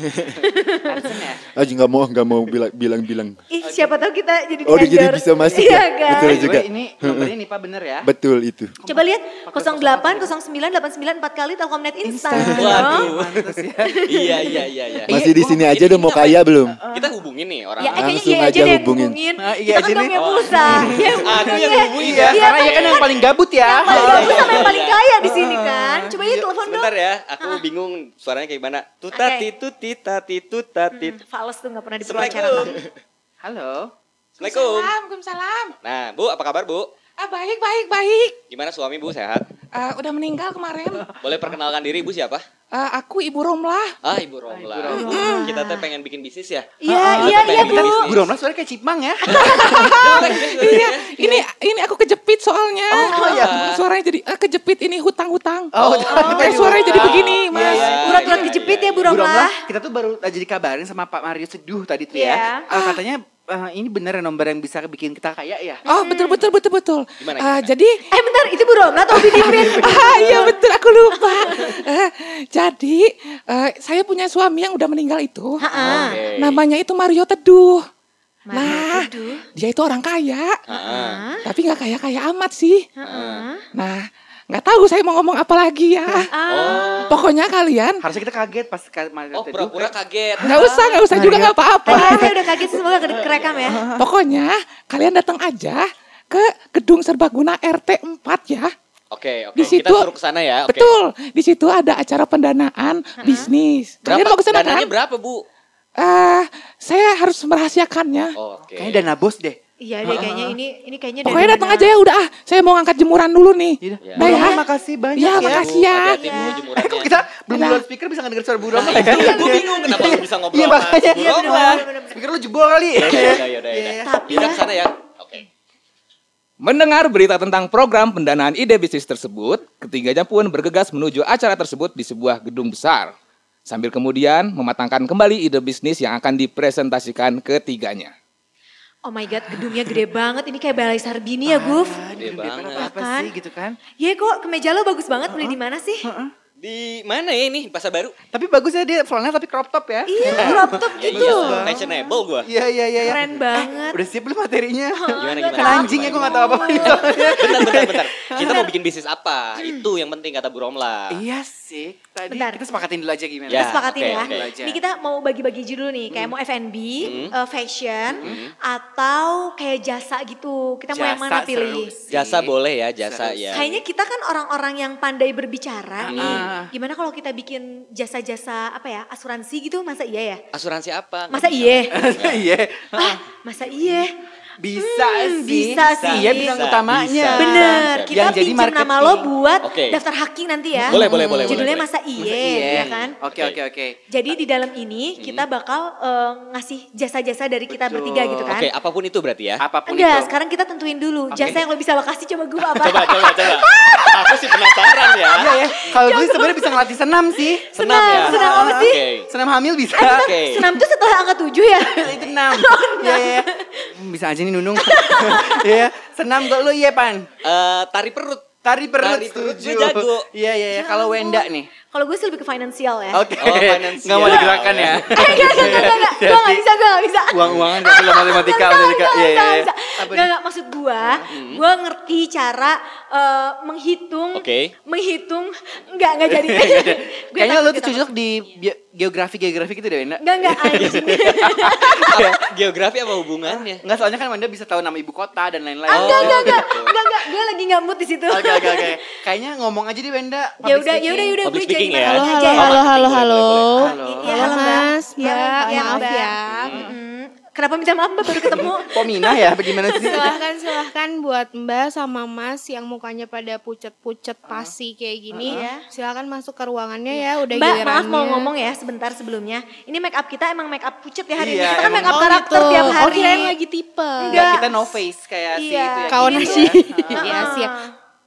Speaker 1: Epson ya.
Speaker 6: Aja Ah, nggak mau nggak mau bilang bilang bilang.
Speaker 2: Ih siapa tahu kita jadi
Speaker 6: Oh, dia jadi
Speaker 2: endorse.
Speaker 6: bisa masuk
Speaker 2: Iya
Speaker 6: ya?
Speaker 2: kan?
Speaker 6: Betul
Speaker 1: By the
Speaker 6: juga. Hmm.
Speaker 1: way, Ini nomornya nih Pak bener ya.
Speaker 6: Betul itu.
Speaker 2: Coba lihat 08, 09, 89, 4 kali Telkomnet Instan.
Speaker 3: Waduh.
Speaker 2: dong.
Speaker 1: Pantes ya.
Speaker 3: Iya iya iya iya.
Speaker 1: Iya,
Speaker 6: Masih di
Speaker 1: gua-
Speaker 6: sini aja udah mau kaya belum?
Speaker 3: Kita hubungin nih orang.
Speaker 2: Ya, eh, kayaknya
Speaker 6: Langsung
Speaker 2: iya aja
Speaker 6: aja
Speaker 2: deh yang
Speaker 6: hubungin.
Speaker 2: hubungin.
Speaker 1: Ah, iya
Speaker 2: Kita kan
Speaker 1: aja
Speaker 2: gak
Speaker 1: deh.
Speaker 2: punya pulsa. Iya,
Speaker 3: Aku yang hubungin
Speaker 1: Iya,
Speaker 3: ya.
Speaker 1: karena ya kan yang paling gabut ya.
Speaker 2: Paling
Speaker 3: Iya,
Speaker 2: bagus
Speaker 3: iya,
Speaker 2: sama yang
Speaker 3: iya,
Speaker 2: paling
Speaker 3: iya.
Speaker 2: kaya di sini kan. Coba yuk telepon dong. Ah.
Speaker 3: Sebentar ya, aku bingung suaranya kayak gimana.
Speaker 2: Oke. Hmm.
Speaker 3: Tuta titu tita titu tatit.
Speaker 2: Fales tuh gak pernah diperbicara.
Speaker 3: Assalamualaikum.
Speaker 1: Halo.
Speaker 3: Assalamualaikum.
Speaker 7: Waalaikumsalam.
Speaker 3: Nah, Bu, apa kabar, Bu?
Speaker 7: Ah baik baik baik.
Speaker 3: Gimana suami Bu sehat?
Speaker 7: Eh, udah meninggal kemarin.
Speaker 3: Boleh perkenalkan diri Bu siapa?
Speaker 7: Eh, aku ibu Romlah.
Speaker 3: Ah, Ibu Romla. Kita teh pengen bikin bisnis ya?
Speaker 2: Iya,
Speaker 3: Kita
Speaker 2: iya,
Speaker 3: pengen
Speaker 2: iya,
Speaker 3: bikin
Speaker 2: Bu.
Speaker 3: bisnis.
Speaker 1: Bu Romlah suaranya kayak Cipmang ya.
Speaker 7: Iya. Ini ini aku kejepit soalnya.
Speaker 1: Oh, iya.
Speaker 7: Suaranya jadi eh, kejepit ini hutang-hutang.
Speaker 1: Oh,
Speaker 7: Eh, suaranya jadi begini, Mas.
Speaker 3: iya, iya.
Speaker 2: Urat-urat kejepit ya Bu
Speaker 1: Bu Romlah,
Speaker 2: Romlah.
Speaker 1: kita tuh baru aja dikabarin sama Pak Mario Seduh tadi tuh
Speaker 2: Iya.
Speaker 1: ya. Eh, katanya eh, ini bener ya nomor yang bisa bikin kita kaya ya.
Speaker 7: Oh, betul betul betul betul.
Speaker 3: Gimana,
Speaker 7: Eh,
Speaker 3: gimana?
Speaker 7: jadi
Speaker 2: Eh bentar, itu Bu Romlah atau Bibi Pin?
Speaker 7: Ah iya betul aku lupa. Eh, jadi eh, saya punya suami yang udah meninggal itu.
Speaker 2: Ah,
Speaker 3: Oke.
Speaker 7: Namanya itu Mario Teduh.
Speaker 2: Mario
Speaker 7: nah,
Speaker 2: Teduh.
Speaker 7: dia itu orang kaya.
Speaker 3: Ah,
Speaker 7: Tapi nggak kaya-kaya amat sih.
Speaker 2: ah,
Speaker 7: Nah, nggak tahu saya mau ngomong apa lagi ya.
Speaker 2: ah.
Speaker 7: Pokoknya kalian
Speaker 1: Harusnya kita kaget pas ka- Mario
Speaker 3: Oh,
Speaker 1: Seduh.
Speaker 3: pura-pura kaget.
Speaker 7: nggak usah, nggak usah juga nggak apa-apa.
Speaker 2: Tadi saya udah kaget semoga ke- kerekam ya.
Speaker 7: Pokoknya kalian datang aja ke gedung serbaguna RT 4 ya.
Speaker 3: Oke, oke.
Speaker 7: Di
Speaker 3: Kita
Speaker 7: situ-
Speaker 3: suruh ke sana ya. Oke.
Speaker 7: Betul, di situ ada acara pendanaan bisnis. Kalian mau ke sana kan?
Speaker 3: dananya berapa, Bu?
Speaker 7: Eh, saya harus merahasiakannya.
Speaker 3: Oh, Oke.
Speaker 1: Kayaknya dana bos deh.
Speaker 2: Iya deh kayaknya ini ini kayaknya dari
Speaker 7: Pokoknya datang
Speaker 2: mana?
Speaker 7: aja ya udah ah, saya mau angkat jemuran dulu nih.
Speaker 1: Yaudah.
Speaker 3: Iya.
Speaker 1: Bu
Speaker 7: Nah, ya.
Speaker 1: Romlah, makasih banyak
Speaker 7: Iya,
Speaker 1: ya.
Speaker 7: makasih ya.
Speaker 3: Hati-hati Bu,
Speaker 2: Iya.
Speaker 1: Eh,
Speaker 3: jemurannya.
Speaker 1: kok kita belum
Speaker 7: Ada.
Speaker 1: luar speaker bisa ngedenger suara Bu Romlah
Speaker 3: Nah,
Speaker 1: ya?
Speaker 3: itu gue bingung kenapa lu bisa ngobrol
Speaker 1: Iya
Speaker 3: sama
Speaker 1: makanya.
Speaker 3: Bu
Speaker 1: Iya bener,
Speaker 3: Romla.
Speaker 1: bener, bener. Speaker lu jebol kali.
Speaker 3: Ya udah, ya udah, ya udah, ya udah.
Speaker 2: Tapi
Speaker 3: Kita
Speaker 2: ya.
Speaker 3: ke sana ya. Oke.
Speaker 4: Mendengar berita tentang program pendanaan ide bisnis tersebut, ketiganya pun bergegas menuju acara tersebut di sebuah gedung besar. Sambil kemudian mematangkan kembali ide bisnis yang akan dipresentasikan ketiganya.
Speaker 2: Oh my god, gedungnya gede banget. Ini kayak Balai Sarbini ya, Guf.
Speaker 3: Gede banget.
Speaker 1: Apa
Speaker 2: Kan?
Speaker 1: sih gitu kan?
Speaker 2: Ya kok kemeja lo bagus banget. Beli di mana sih?
Speaker 3: Di mana ya ini? Di Pasar Baru?
Speaker 1: Tapi bagusnya dia flanel tapi crop top ya.
Speaker 2: Iya, crop top
Speaker 3: Ya,
Speaker 2: gitu.
Speaker 3: iya, fashionable gua.
Speaker 1: Iya iya iya. iya.
Speaker 2: Keren banget. Iya,
Speaker 1: Udah siap belum materinya?
Speaker 3: Gimana,
Speaker 2: Gua
Speaker 3: gimana?
Speaker 1: Kan
Speaker 2: tahu.
Speaker 1: anjing ya gue gak tau apa-apa gitu.
Speaker 3: Bentar, bentar, bentar. Kita mau bikin bisnis apa? Itu yang penting kata Bu Romla.
Speaker 1: Iya sih. Tadi
Speaker 2: Bentar.
Speaker 1: kita sepakatin dulu aja gimana.
Speaker 2: Kita
Speaker 3: Ya,
Speaker 2: sepakatin
Speaker 3: oke,
Speaker 2: ya.
Speaker 3: oke. Hmm.
Speaker 2: Ini kita mau bagi-bagi judul nih, kayak mau F&B, eh, fashion, atau kayak jasa gitu. Kita mau yang
Speaker 1: Jasa
Speaker 2: mana
Speaker 1: seru
Speaker 2: pilih?
Speaker 1: sih.
Speaker 3: Jasa boleh ya, jasa ya.
Speaker 2: Kayaknya kita kan orang-orang yang pandai berbicara nih.
Speaker 1: Ah.
Speaker 2: Gimana kalau kita bikin jasa-jasa apa ya, asuransi gitu? Masa iya ya?
Speaker 3: Asuransi apa?
Speaker 2: Masa iya?
Speaker 1: Iya.
Speaker 2: ah, masa iya?
Speaker 1: Bisa
Speaker 2: Hmm,
Speaker 1: sih.
Speaker 2: bisa sih.
Speaker 1: Iya bintang
Speaker 3: Bisa,
Speaker 1: utamanya.
Speaker 3: bisa.
Speaker 2: Bener,
Speaker 3: bisa.
Speaker 2: kita
Speaker 1: Yang jadi
Speaker 2: pinjam
Speaker 1: marketing.
Speaker 2: nama lo buat
Speaker 3: Oke.
Speaker 2: daftar haki nanti ya.
Speaker 3: Boleh, boleh, boleh,
Speaker 2: Judulnya
Speaker 3: boleh, Iya.
Speaker 2: masa
Speaker 1: Masa
Speaker 2: iye, ya kan?
Speaker 1: Oke oke oke.
Speaker 2: Jadi di dalam ini
Speaker 3: Mm-hmm.
Speaker 2: kita bakal eh, ngasih jasa-jasa dari kita
Speaker 1: Betul.
Speaker 2: bertiga gitu kan.
Speaker 3: Oke, apapun itu berarti ya.
Speaker 1: Apapun
Speaker 2: Enggak,
Speaker 1: itu.
Speaker 2: sekarang kita tentuin dulu jasa yang lo bisa lo kasih coba gue apa.
Speaker 3: Coba, coba, coba. Aku sih penasaran ya.
Speaker 1: Iya ya. Kalau gue sebenarnya bisa ngelatih senam sih.
Speaker 2: Senam,
Speaker 3: Senam ya?
Speaker 2: senam apa sih?
Speaker 3: Oke.
Speaker 1: Senam hamil bisa.
Speaker 2: Eh, bentar,
Speaker 3: Oke.
Speaker 2: Senam tuh setelah angka tujuh ya.
Speaker 1: Itu enam. Iya iya. iya. Hmm, Bisa aja nih Nunung. Iya. Senam kok lu iya Pan.
Speaker 3: Eh, tari perut.
Speaker 1: Tari perut
Speaker 3: Tari perut,
Speaker 1: setuju.
Speaker 3: gue jago.
Speaker 1: Iya iya iya. Kalau Wenda nih.
Speaker 2: Ya Kalau gue sih lebih ke financial ya.
Speaker 1: Oke.
Speaker 3: Oh, finansial.
Speaker 1: Nggak mau digerakkan ya.
Speaker 2: Eh, enggak, enggak, enggak, enggak, enggak. Gue gak bisa, gue gak bisa.
Speaker 1: Uang-uangan nggak perlu matematika,
Speaker 2: Nggak,
Speaker 1: matematika.
Speaker 2: nggak,
Speaker 1: Iya iya.
Speaker 2: nggak,
Speaker 1: iya.
Speaker 2: nggak.
Speaker 1: Apa
Speaker 2: Nggak,
Speaker 1: nih? Hmm.
Speaker 2: nggak, maksud gua, gua ngerti cara eh, menghitung,
Speaker 3: Oke.
Speaker 2: menghitung, enggak, enggak jadi. Gua
Speaker 1: Kayaknya
Speaker 2: takut,
Speaker 1: lu
Speaker 2: gua
Speaker 1: tuh
Speaker 2: takut.
Speaker 1: cocok di bio- geografi-geografi gitu deh Wenda.
Speaker 2: Enggak, enggak, anjing.
Speaker 3: Apa- Geografi apa hubungannya?
Speaker 1: Enggak soalnya kan Wanda bisa tahu nama ibu kota dan lain-lain. Oh,
Speaker 2: Ah, Enggak, enggak, enggak,
Speaker 3: gitu.
Speaker 2: enggak, enggak, gue lagi nggak mood di situ.
Speaker 1: Oke oke oke. Kayaknya ngomong aja deh Wenda.
Speaker 2: Ya udah, ya udah, ya udah,
Speaker 3: Public
Speaker 2: gue jadi
Speaker 3: speaking ya.
Speaker 2: marah
Speaker 7: Halo,
Speaker 2: aja ya.
Speaker 7: halo, halo, halo, halo.
Speaker 1: Halo.
Speaker 2: Iya, halo, Mbak.
Speaker 7: Mas,
Speaker 2: Iya,
Speaker 7: Mbak.
Speaker 2: iya,
Speaker 7: Maaf
Speaker 2: Mbak.
Speaker 7: ya.
Speaker 2: Mm-mm. Kenapa minta maaf Mbak baru ketemu?
Speaker 1: Pomina ya bagaimana sih?
Speaker 8: silahkan silahkan buat mbak sama mas yang mukanya pada pucet-pucet pasi kayak gini ya silahkan masuk ke ruangannya ya udah
Speaker 2: Iya. Mbak maaf
Speaker 8: gilirannya.
Speaker 2: mau ngomong ya sebentar sebelumnya. Ini make up kita emang make up pucet ya
Speaker 1: Iya,
Speaker 2: hari ini. Kita kan
Speaker 1: emang.
Speaker 2: make up
Speaker 8: Oh,
Speaker 2: karakter
Speaker 8: gitu.
Speaker 2: tiap
Speaker 8: Oh,
Speaker 2: hari.
Speaker 8: kirain lagi tipe
Speaker 1: Enggak,
Speaker 2: Enggak.
Speaker 1: kita no face kayak si
Speaker 2: Iya.
Speaker 1: itu ya.
Speaker 8: kawan
Speaker 1: gitu
Speaker 8: sih
Speaker 1: ya.
Speaker 8: iya
Speaker 2: Heeh.
Speaker 8: siap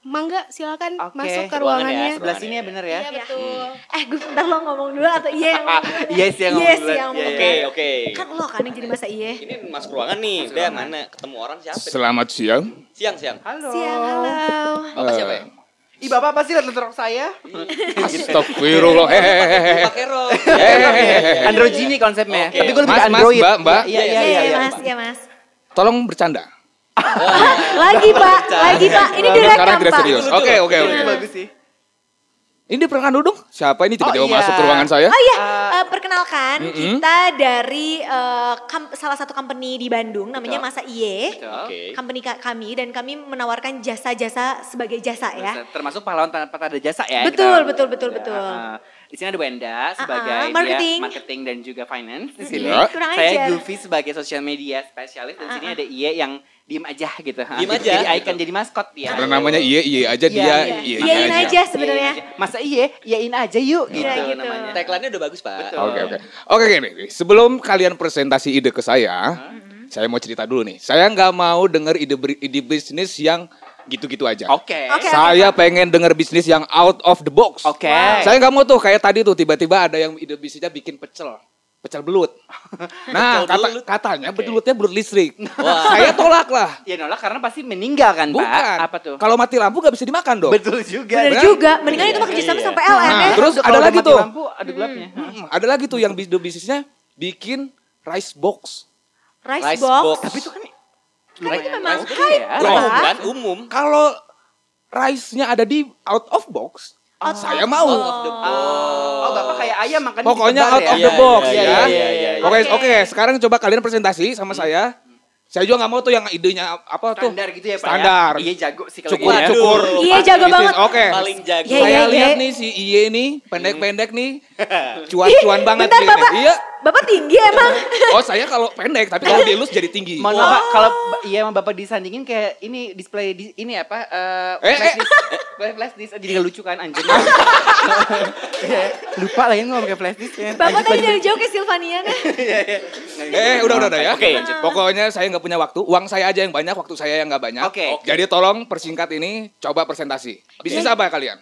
Speaker 8: mangga silahkan
Speaker 1: Oke,
Speaker 8: masuk ke
Speaker 3: ruangan ya,
Speaker 8: ruangannya
Speaker 3: seru.
Speaker 1: Sebelah sini ya bener ya.
Speaker 8: iya betul
Speaker 2: Eh gue bentar lo ngomong dulu atau iya yang ngomong dulu?
Speaker 1: Iya sih yang ngomong
Speaker 2: Yes,
Speaker 1: duluan.
Speaker 2: yang
Speaker 1: Iya,
Speaker 2: ngomong
Speaker 1: iya.
Speaker 3: Oke,
Speaker 2: duluan.
Speaker 3: oke.
Speaker 2: Kan lo kan yang jadi masa iya.
Speaker 3: Ini masuk ruangan nih. Udah mana ketemu orang siapa?
Speaker 4: Selamat siang.
Speaker 3: Siang, siang.
Speaker 1: Halo.
Speaker 2: Siang, halo.
Speaker 3: Bapak siapa ya?
Speaker 1: Ih bapak apa sih liat rok saya?
Speaker 3: Eh,
Speaker 4: Eh, Astagfirullah.
Speaker 1: Eh.
Speaker 4: Hehehe.
Speaker 3: Pakai rok. Gitu
Speaker 1: Androgini ya? konsepnya.
Speaker 3: eh, Oke.
Speaker 1: Tapi gue lebih
Speaker 4: Mas,
Speaker 1: ke
Speaker 4: mas,
Speaker 1: android.
Speaker 4: mbak, mbak.
Speaker 1: Iya, iya,
Speaker 2: Iya,
Speaker 1: iya. iya.
Speaker 2: mas, iya mas.
Speaker 4: Tolong bercanda.
Speaker 2: Lagi pak, lagi pak. Ini
Speaker 4: Kalau
Speaker 2: direkam
Speaker 4: sekarang tidak
Speaker 2: pak.
Speaker 4: serius. Oke, oke,
Speaker 1: Itu
Speaker 4: oke.
Speaker 1: bagus sih.
Speaker 4: Ini perkenalkan duduk. Iya. Siapa ini
Speaker 1: Oh,
Speaker 4: tiba-tiba
Speaker 1: iya.
Speaker 4: masuk ke ruangan saya?
Speaker 2: Oh iya,
Speaker 1: Eh,
Speaker 2: eh, perkenalkan kita dari eh, kam- salah satu company di Bandung namanya Masa Iye.
Speaker 3: Oke.
Speaker 2: Company ka- kami dan kami menawarkan jasa-jasa sebagai jasa ya.
Speaker 1: Termasuk pahlawan tanpa ada jasa ya.
Speaker 2: Betul, betul, betul,
Speaker 1: Ya,
Speaker 2: betul.
Speaker 1: uh, Di sini ada Wenda sebagai
Speaker 2: Uh-uh,
Speaker 1: dia
Speaker 2: marketing.
Speaker 1: marketing dan juga finance di sini.
Speaker 4: Iya.
Speaker 2: Kurang
Speaker 1: Saya
Speaker 2: ajar. Ah,
Speaker 1: Goofy sebagai social media spesialis dan sini ada Iye yang diem aja gitu. ha.
Speaker 3: Diem
Speaker 1: Jadi-
Speaker 3: aja.
Speaker 1: Jadi icon jadi maskot dia.
Speaker 4: Karena namanya Iye Iye
Speaker 1: Iya,
Speaker 4: aja dia
Speaker 1: iya.
Speaker 4: Iye
Speaker 2: Iyain
Speaker 4: Iye aja.
Speaker 2: aja sebenarnya.
Speaker 1: Masa Iye, Iyein aja yuk gitu,
Speaker 2: Iya, gitu.
Speaker 1: namanya.
Speaker 3: Tagline-nya udah bagus, Pak.
Speaker 1: Betul.
Speaker 4: Oke oke. Oke gini, sebelum kalian presentasi ide ke saya, saya mau cerita dulu nih. Saya nggak mau dengar ide beri- ide bisnis yang gitu-gitu aja.
Speaker 1: Oke.
Speaker 2: Oke.
Speaker 4: Saya pengen dengar bisnis yang out of the box.
Speaker 1: Oke.
Speaker 4: Saya nggak mau tuh kayak tadi tuh tiba-tiba ada yang ide bisnisnya bikin pecel, pecel belut. Nah,
Speaker 3: Pecel
Speaker 4: kata-
Speaker 3: belut.
Speaker 4: katanya belutnya belut listrik.
Speaker 3: Wah.
Speaker 4: Saya tolak lah.
Speaker 1: Ya nolak karena pasti meninggal kan
Speaker 4: Bukan.
Speaker 1: Pak. Apa tuh?
Speaker 4: Kalau mati lampu nggak bisa dimakan dong.
Speaker 1: Betul juga.
Speaker 2: Bener
Speaker 4: Benar.
Speaker 2: juga, mendingan itu mah kerjasama sampai LN
Speaker 4: Nah,
Speaker 2: ya.
Speaker 4: terus
Speaker 1: Kalau
Speaker 4: ada
Speaker 1: udah
Speaker 4: lagi
Speaker 1: mati
Speaker 4: tuh.
Speaker 1: Lampu, ada gelapnya.
Speaker 4: Hmm, ada lagi tuh yang bis- ide bisnisnya bikin rice box.
Speaker 2: Rice,
Speaker 3: Rice
Speaker 2: box.
Speaker 3: box.
Speaker 1: Tapi itu kan
Speaker 2: Kan itu
Speaker 1: lumayan
Speaker 2: memang
Speaker 1: luas
Speaker 2: hype
Speaker 1: ya.
Speaker 3: Umum
Speaker 2: Pak.
Speaker 3: kan? Umum.
Speaker 4: Kalau rice-nya ada di out of box,
Speaker 2: Out
Speaker 4: saya
Speaker 2: of
Speaker 4: mau.
Speaker 2: box.
Speaker 1: Oh, Bapak kayak ayam makannya
Speaker 4: Pokoknya
Speaker 1: ditebar
Speaker 4: out
Speaker 1: ya?
Speaker 4: of the
Speaker 1: Iya,
Speaker 4: box
Speaker 1: iya,
Speaker 4: ya.
Speaker 1: iya, iya, iya.
Speaker 4: Oke,
Speaker 2: Oke.
Speaker 4: oke. Sekarang coba kalian presentasi sama saya. Saya juga nggak mau tuh yang idenya apa tuh.
Speaker 1: Standar gitu ya, Pak. ya?
Speaker 4: Standar. ya.
Speaker 1: Iya, jago sih kalau gitu.
Speaker 4: Cukur,
Speaker 3: Waduh.
Speaker 4: cukur.
Speaker 2: Iya, jago
Speaker 4: Bisnis,
Speaker 2: banget.
Speaker 4: Oke.
Speaker 3: Paling jago.
Speaker 2: Iya,
Speaker 4: Saya
Speaker 2: iya,
Speaker 4: lihat
Speaker 2: iya.
Speaker 4: nih si Iye nih, pendek-pendek nih. Cuan-cuan
Speaker 2: Ih,
Speaker 4: banget
Speaker 2: bentar,
Speaker 4: nih.
Speaker 2: Bapak.
Speaker 4: Iya.
Speaker 2: Bapak tinggi emang.
Speaker 4: Oh, saya kalau pendek, tapi kalau dilus jadi tinggi.
Speaker 1: Mohon
Speaker 2: Oh,
Speaker 1: maaf, Pak, kalau ba- iya sama Bapak disandingin kayak ini display di ini apa eh
Speaker 4: Eh, eh.
Speaker 1: flash disk, eh, flash disk jadi nggak lucu kan anjing. Iya, Lupa lagi ngomong kayak flash disk ya.
Speaker 2: Bapak tadi
Speaker 4: Iya.
Speaker 2: dari jauh ke Silvania nah.
Speaker 4: Eh, udah udah udah ya.
Speaker 3: Oke.
Speaker 4: Pokoknya saya nggak punya waktu. Uang saya aja yang banyak, waktu saya yang nggak banyak.
Speaker 1: Oke.
Speaker 4: Jadi tolong persingkat ini, coba presentasi. Bisnis apa kalian?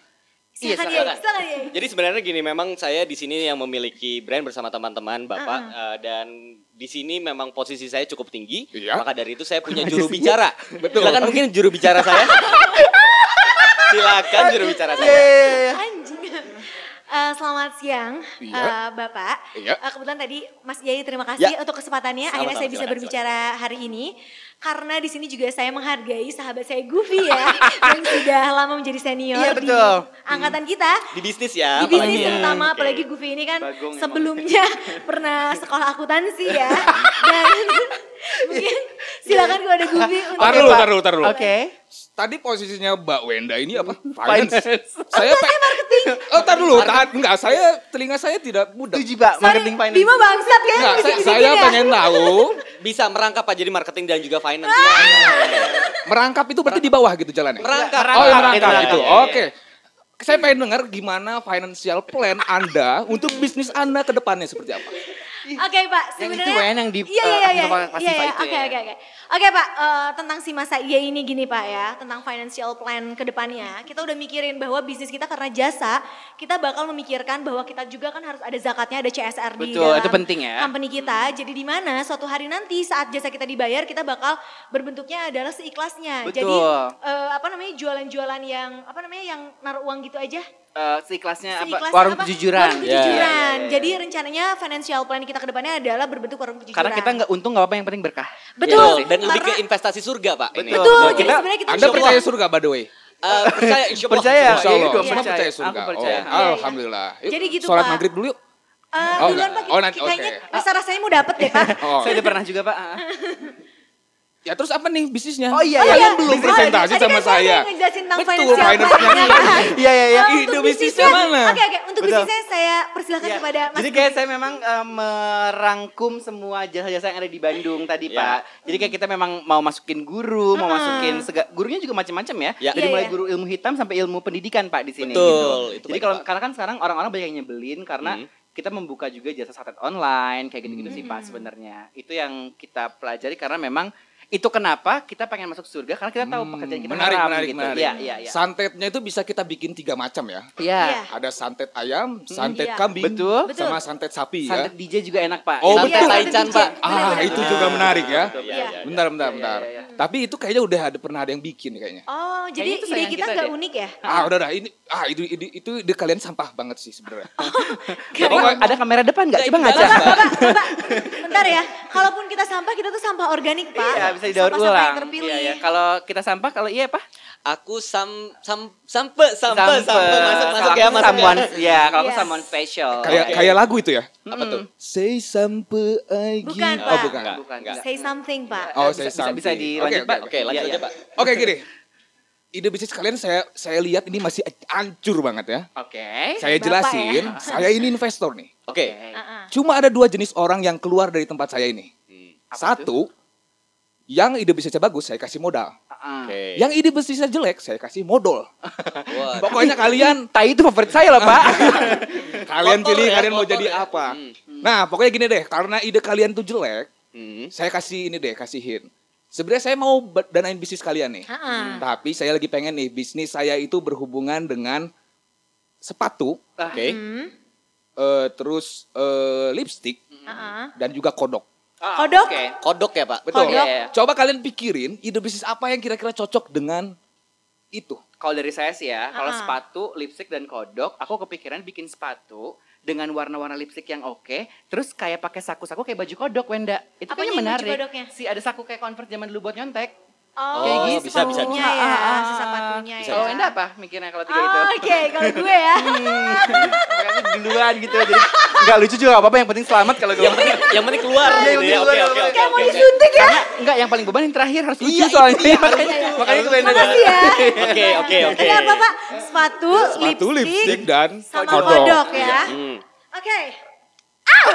Speaker 3: Iya,
Speaker 2: Silakan
Speaker 3: silakan.
Speaker 2: ya, silakan ya.
Speaker 3: Jadi sebenarnya gini, memang saya di sini yang memiliki brand bersama teman-teman bapak eh, dan di sini memang posisi saya cukup tinggi.
Speaker 4: Iya.
Speaker 3: Maka dari itu saya punya juru bicara.
Speaker 4: Betul.
Speaker 3: Silakan mungkin juru bicara saya. Silakan juru bicara saya.
Speaker 2: Anjing. Eh, selamat siang, eh,
Speaker 4: Iya.
Speaker 2: Bapak.
Speaker 4: Iya.
Speaker 2: Eh, kebetulan tadi Mas Yai terima kasih
Speaker 3: Ya.
Speaker 2: untuk kesempatannya.
Speaker 3: Sama-sama,
Speaker 2: Akhirnya saya bisa
Speaker 3: silakan,
Speaker 2: berbicara hari ini. Karena di sini juga saya menghargai sahabat saya Goofy ya, yang sudah lama menjadi senior
Speaker 1: Iya,
Speaker 2: di
Speaker 1: betul.
Speaker 2: angkatan kita.
Speaker 3: Di bisnis ya.
Speaker 2: Di bisnis
Speaker 3: apalagi ya.
Speaker 2: terutama,
Speaker 3: Oke.
Speaker 2: apalagi Goofy ini kan
Speaker 1: Bagong emang.
Speaker 2: sebelumnya pernah sekolah akuntansi ya. Dan mungkin silakan kalau ada Goofy untuk...
Speaker 4: Taruh dulu, taruh dulu, taruh dulu.
Speaker 1: Oke.
Speaker 4: Tadi posisinya Mbak Wenda ini apa?
Speaker 1: Finance.
Speaker 4: saya pe- marketing. Oh, tar dulu. Tahan. Enggak, saya telinga saya tidak mudah.
Speaker 1: Setuju, Pak, marketing
Speaker 2: Sorry,
Speaker 1: finance.
Speaker 2: Bima bangsat ya.
Speaker 4: Enggak, saya,
Speaker 2: bisik-bisikin
Speaker 4: saya
Speaker 2: ya.
Speaker 4: pengen tahu
Speaker 3: Bisa merangkap Pak jadi marketing dan juga finance.
Speaker 2: Ah,
Speaker 4: merangkap itu berarti di bawah gitu jalannya.
Speaker 3: Merangkap.
Speaker 4: Oh, yang merangkap
Speaker 1: Merangkap,
Speaker 4: gitu.
Speaker 1: iya,
Speaker 4: Oke. Saya pengen dengar gimana financial plan Anda untuk bisnis Anda ke depannya seperti apa.
Speaker 2: Oke pak,
Speaker 1: Yang itu,
Speaker 2: sebenarnya
Speaker 1: Wen, yang di,
Speaker 2: iya
Speaker 1: eh,
Speaker 2: iya iya
Speaker 1: Antropologi
Speaker 2: iya
Speaker 1: Pasifik
Speaker 2: iya
Speaker 1: itu
Speaker 2: oke
Speaker 1: ya.
Speaker 2: oke oke oke pak eh, tentang si masa iya ini gini pak ya tentang financial plan kedepannya kita udah mikirin bahwa bisnis kita karena jasa kita bakal memikirkan bahwa kita juga kan harus ada zakatnya ada CSR di
Speaker 1: Betul,
Speaker 2: dalam
Speaker 1: itu penting ya.
Speaker 2: company kita jadi di mana suatu hari nanti saat jasa kita dibayar kita bakal berbentuknya adalah seikhlasnya jadi
Speaker 1: Betul.
Speaker 2: eh, apa namanya jualan-jualan yang apa namanya yang naruh uang gitu aja
Speaker 1: Eh, seikhlasnya apa?
Speaker 2: Seikhlasnya
Speaker 1: Warung
Speaker 2: apa?
Speaker 1: kejujuran.
Speaker 2: Warung
Speaker 1: Ya, ya,
Speaker 2: kejujuran.
Speaker 1: ya, ya.
Speaker 2: Jadi rencananya financial plan kita ke depannya adalah berbentuk warung kejujuran.
Speaker 1: Karena kita nggak untung nggak apa-apa yang penting berkah.
Speaker 2: betul.
Speaker 3: Iya, Gitu. Dan lebih ke
Speaker 2: Karena-
Speaker 3: investasi surga, Pak. ini.
Speaker 1: Betul.
Speaker 2: betul. Jadi
Speaker 1: Kita-
Speaker 2: sebenarnya Nah, kita
Speaker 4: Anda
Speaker 2: juga-
Speaker 4: percaya surga by the way?
Speaker 3: Eh, percaya, insya Allah.
Speaker 1: Percaya. iya,
Speaker 4: Insya Allah,
Speaker 1: iya,
Speaker 4: semua
Speaker 1: percaya.
Speaker 4: percaya
Speaker 1: Aku
Speaker 4: surga.
Speaker 1: percaya.
Speaker 4: Oh,
Speaker 2: Iya, iya.
Speaker 4: Alhamdulillah. Yuk,
Speaker 2: Jadi gitu,
Speaker 4: Sholat
Speaker 2: Pak.
Speaker 4: maghrib dulu yuk.
Speaker 2: Eh,
Speaker 4: Oh,
Speaker 2: duluan
Speaker 4: enggak.
Speaker 2: Pak,
Speaker 4: Oh, nanti,
Speaker 2: kayaknya
Speaker 4: oke.
Speaker 2: rasa rasanya mau dapet deh Pak.
Speaker 4: Oh.
Speaker 1: Saya udah pernah juga Pak. ah.
Speaker 4: Ya terus apa nih bisnisnya?
Speaker 1: Oh, iya, iya.
Speaker 4: Kalian belum
Speaker 1: Bisnis.
Speaker 4: presentasi
Speaker 2: Tadi kan
Speaker 4: sama
Speaker 2: saya
Speaker 4: saya.
Speaker 2: yang ngejelasin tentang
Speaker 4: Betul,
Speaker 2: financial
Speaker 4: finance-nya.
Speaker 2: plan-nya, kan?
Speaker 1: Iya iya iya.
Speaker 2: Eh,
Speaker 4: Ide
Speaker 2: untuk
Speaker 4: bisnisnya mana?
Speaker 2: Oke oke, untuk lebih sih saya, saya persilahkan
Speaker 1: Iya.
Speaker 2: kepada Mas
Speaker 1: Jadi kayak saya memang eh, merangkum semua jasa-jasa yang ada di Bandung tadi
Speaker 4: Ya.
Speaker 3: Iya.
Speaker 1: Pak. Jadi kayak kita memang mau masukin guru, mau
Speaker 2: Ah.
Speaker 1: masukin sega, gurunya juga macam-macam ya.
Speaker 3: Iya.
Speaker 1: Dari
Speaker 2: Iya,
Speaker 1: mulai
Speaker 2: iya.
Speaker 1: guru ilmu hitam sampai ilmu pendidikan Pak di sini.
Speaker 3: Betul,
Speaker 1: gitu. Jadi
Speaker 3: itu banyak,
Speaker 1: kalau
Speaker 3: Pak.
Speaker 1: karena kan sekarang orang-orang banyak yang nyebelin karena
Speaker 3: Hmm.
Speaker 1: kita membuka juga jasa santet online kayak gitu-gitu sih Pak sebenarnya. Itu yang kita pelajari karena memang itu kenapa kita pengen masuk surga karena kita tahu
Speaker 4: Hmm,
Speaker 1: pekerjaan kita
Speaker 4: menarik,
Speaker 1: haram
Speaker 4: menarik,
Speaker 1: gitu.
Speaker 4: menarik.
Speaker 1: Iya, iya, iya.
Speaker 4: Santetnya itu bisa kita bikin tiga macam ya.
Speaker 1: Iya.
Speaker 2: Iya.
Speaker 4: Ada santet ayam,
Speaker 2: iya.
Speaker 4: santet kambing,
Speaker 1: Betul.
Speaker 4: sama santet sapi ya.
Speaker 1: Santet DJ juga enak Pak.
Speaker 4: Oh,
Speaker 1: Santet
Speaker 4: betul.
Speaker 1: Taichan Pak.
Speaker 4: Ah,
Speaker 2: Benar-benar.
Speaker 4: itu juga menarik ya.
Speaker 1: betul,
Speaker 2: Iya.
Speaker 3: iya.
Speaker 4: Bentar, bentar,
Speaker 1: Iya, iya,
Speaker 4: bentar.
Speaker 1: iya,
Speaker 4: Tapi itu kayaknya udah ada pernah ada yang bikin kayaknya.
Speaker 2: Oh, jadi
Speaker 1: Kayaknya itu
Speaker 2: ide
Speaker 1: sayang
Speaker 2: kita
Speaker 1: kita
Speaker 2: nggak
Speaker 1: deh.
Speaker 2: unik ya?
Speaker 4: Ah, udah, udah. Ini, ah, itu, itu, itu ide kalian sampah banget sih sebenarnya. Iya.
Speaker 1: Bapak, ada kamera depan nggak? Coba ngaca.
Speaker 2: Bentar ya, kalaupun kita sampah, kita tuh sampah organik, Pak.
Speaker 1: Iya, bisa didaur
Speaker 2: Sampah-sampah
Speaker 1: ulang.
Speaker 2: yang terpilih.
Speaker 1: Iya, iya. Kalau kita sampah, kalau iya apa?
Speaker 3: Aku sam sam sampe sampe sampe masuk masuk
Speaker 1: Kalau
Speaker 3: ya
Speaker 1: aku
Speaker 3: masuk ya.
Speaker 1: someone, ya. Kalau aku
Speaker 2: Yes.
Speaker 1: someone special.
Speaker 4: kayak
Speaker 1: Oke.
Speaker 4: kayak lagu itu ya.
Speaker 1: Mm-mm.
Speaker 4: Say sampai I give-
Speaker 2: Bukan,
Speaker 4: Oh,
Speaker 2: Pak.
Speaker 4: bukan.
Speaker 3: Enggak,
Speaker 1: Bukan.
Speaker 3: enggak.
Speaker 2: Say something, Pak.
Speaker 4: Oh,
Speaker 1: Bisa-
Speaker 4: say
Speaker 1: bisa-
Speaker 4: something.
Speaker 1: bisa dilanjut,
Speaker 4: Oke,
Speaker 1: Pak?
Speaker 4: oke,
Speaker 3: Oke,
Speaker 4: oke.
Speaker 3: lanjut
Speaker 1: Iya,
Speaker 3: aja,
Speaker 1: iya.
Speaker 3: Pak.
Speaker 4: Oke, gini. Ide bisnis kalian saya saya lihat ini masih hancur banget ya.
Speaker 1: Oke.
Speaker 4: Saya
Speaker 2: Bapak
Speaker 4: jelasin, saya ini investor nih.
Speaker 3: Oke.
Speaker 2: Heeh.
Speaker 4: Cuma ada dua jenis orang yang keluar dari tempat saya ini.
Speaker 1: Apa
Speaker 4: Satu, yang ide bisnisnya bagus saya kasih modal.
Speaker 1: Heeh.
Speaker 3: Oke.
Speaker 4: Yang ide bisnisnya jelek saya kasih modal.
Speaker 3: Wah,
Speaker 4: Eh, Pokoknya kalian
Speaker 1: Tai itu favorit saya loh, Pak.
Speaker 4: kalian
Speaker 3: Kotor
Speaker 4: pilih
Speaker 3: ya,
Speaker 4: kalian mau
Speaker 3: kotor
Speaker 4: jadi
Speaker 3: ya.
Speaker 4: apa.
Speaker 3: Hmm.
Speaker 4: Nah, pokoknya gini deh, karena ide kalian tuh jelek,
Speaker 3: hmm.
Speaker 4: saya kasih ini deh, kasihin. Sebenarnya saya mau ber- danain bisnis kalian nih.
Speaker 2: Heeh.
Speaker 3: Hmm.
Speaker 4: Tapi saya lagi pengen nih bisnis saya itu berhubungan dengan sepatu,
Speaker 3: Oke.
Speaker 2: Hmm.
Speaker 4: eh, terus eh, lipstick
Speaker 2: Heeh.
Speaker 4: dan juga kodok.
Speaker 1: Ah,
Speaker 2: Kodok.
Speaker 1: oke.
Speaker 3: Kodok ya, Pak?
Speaker 4: Betul.
Speaker 1: Kodok. Iya, iya.
Speaker 4: Coba kalian pikirin ide bisnis apa yang kira-kira cocok dengan itu.
Speaker 1: Kalau dari saya sih ya, kalau
Speaker 2: Heeh.
Speaker 1: sepatu, lipstick dan kodok, aku kepikiran bikin sepatu dengan warna-warna lipstick yang oke, terus kayak pakai saku-saku kayak baju kodok, Wenda. Itu
Speaker 2: Apanya
Speaker 1: kayaknya
Speaker 2: yang baju
Speaker 1: menarik.
Speaker 2: kodoknya?
Speaker 1: Si ada saku kayak Converse zaman dulu buat nyontek.
Speaker 2: Oh,
Speaker 3: Kayak
Speaker 2: kayak
Speaker 3: gitu, bisa, bisa.
Speaker 2: sepatunya ya,
Speaker 1: Ah,
Speaker 2: si sepatunya ya.
Speaker 1: Kalau Wenda apa mikirnya kalau tiga itu?
Speaker 2: Oh, Oke, kalau gue ya.
Speaker 3: Hmm.
Speaker 1: Kayaknya duluan gitu jadi nggak lucu juga nggak apa-apa yang penting selamat kalau gitu. gue
Speaker 3: Yang penting yang penting keluar
Speaker 1: Iya, yang
Speaker 3: gitu ya.
Speaker 1: penting keluar,
Speaker 3: Oke, oke,
Speaker 1: keluar.
Speaker 3: oke,
Speaker 2: Kayak mau
Speaker 3: oke.
Speaker 2: disuntik ya.
Speaker 1: karena nggak yang paling beban yang terakhir harus lucu
Speaker 3: Iya,
Speaker 1: soalnya
Speaker 3: iya,
Speaker 1: makanya
Speaker 3: iya.
Speaker 1: makanya itu yang
Speaker 2: Makasih ya.
Speaker 3: Oke, oke, oke.
Speaker 2: Tadi apa Pak? Sepatu,
Speaker 4: Sepatu, lipstick,
Speaker 2: lipstick,
Speaker 4: dan
Speaker 2: sama
Speaker 4: kodok.
Speaker 2: kodok ya.
Speaker 3: Hmm.
Speaker 2: Oke.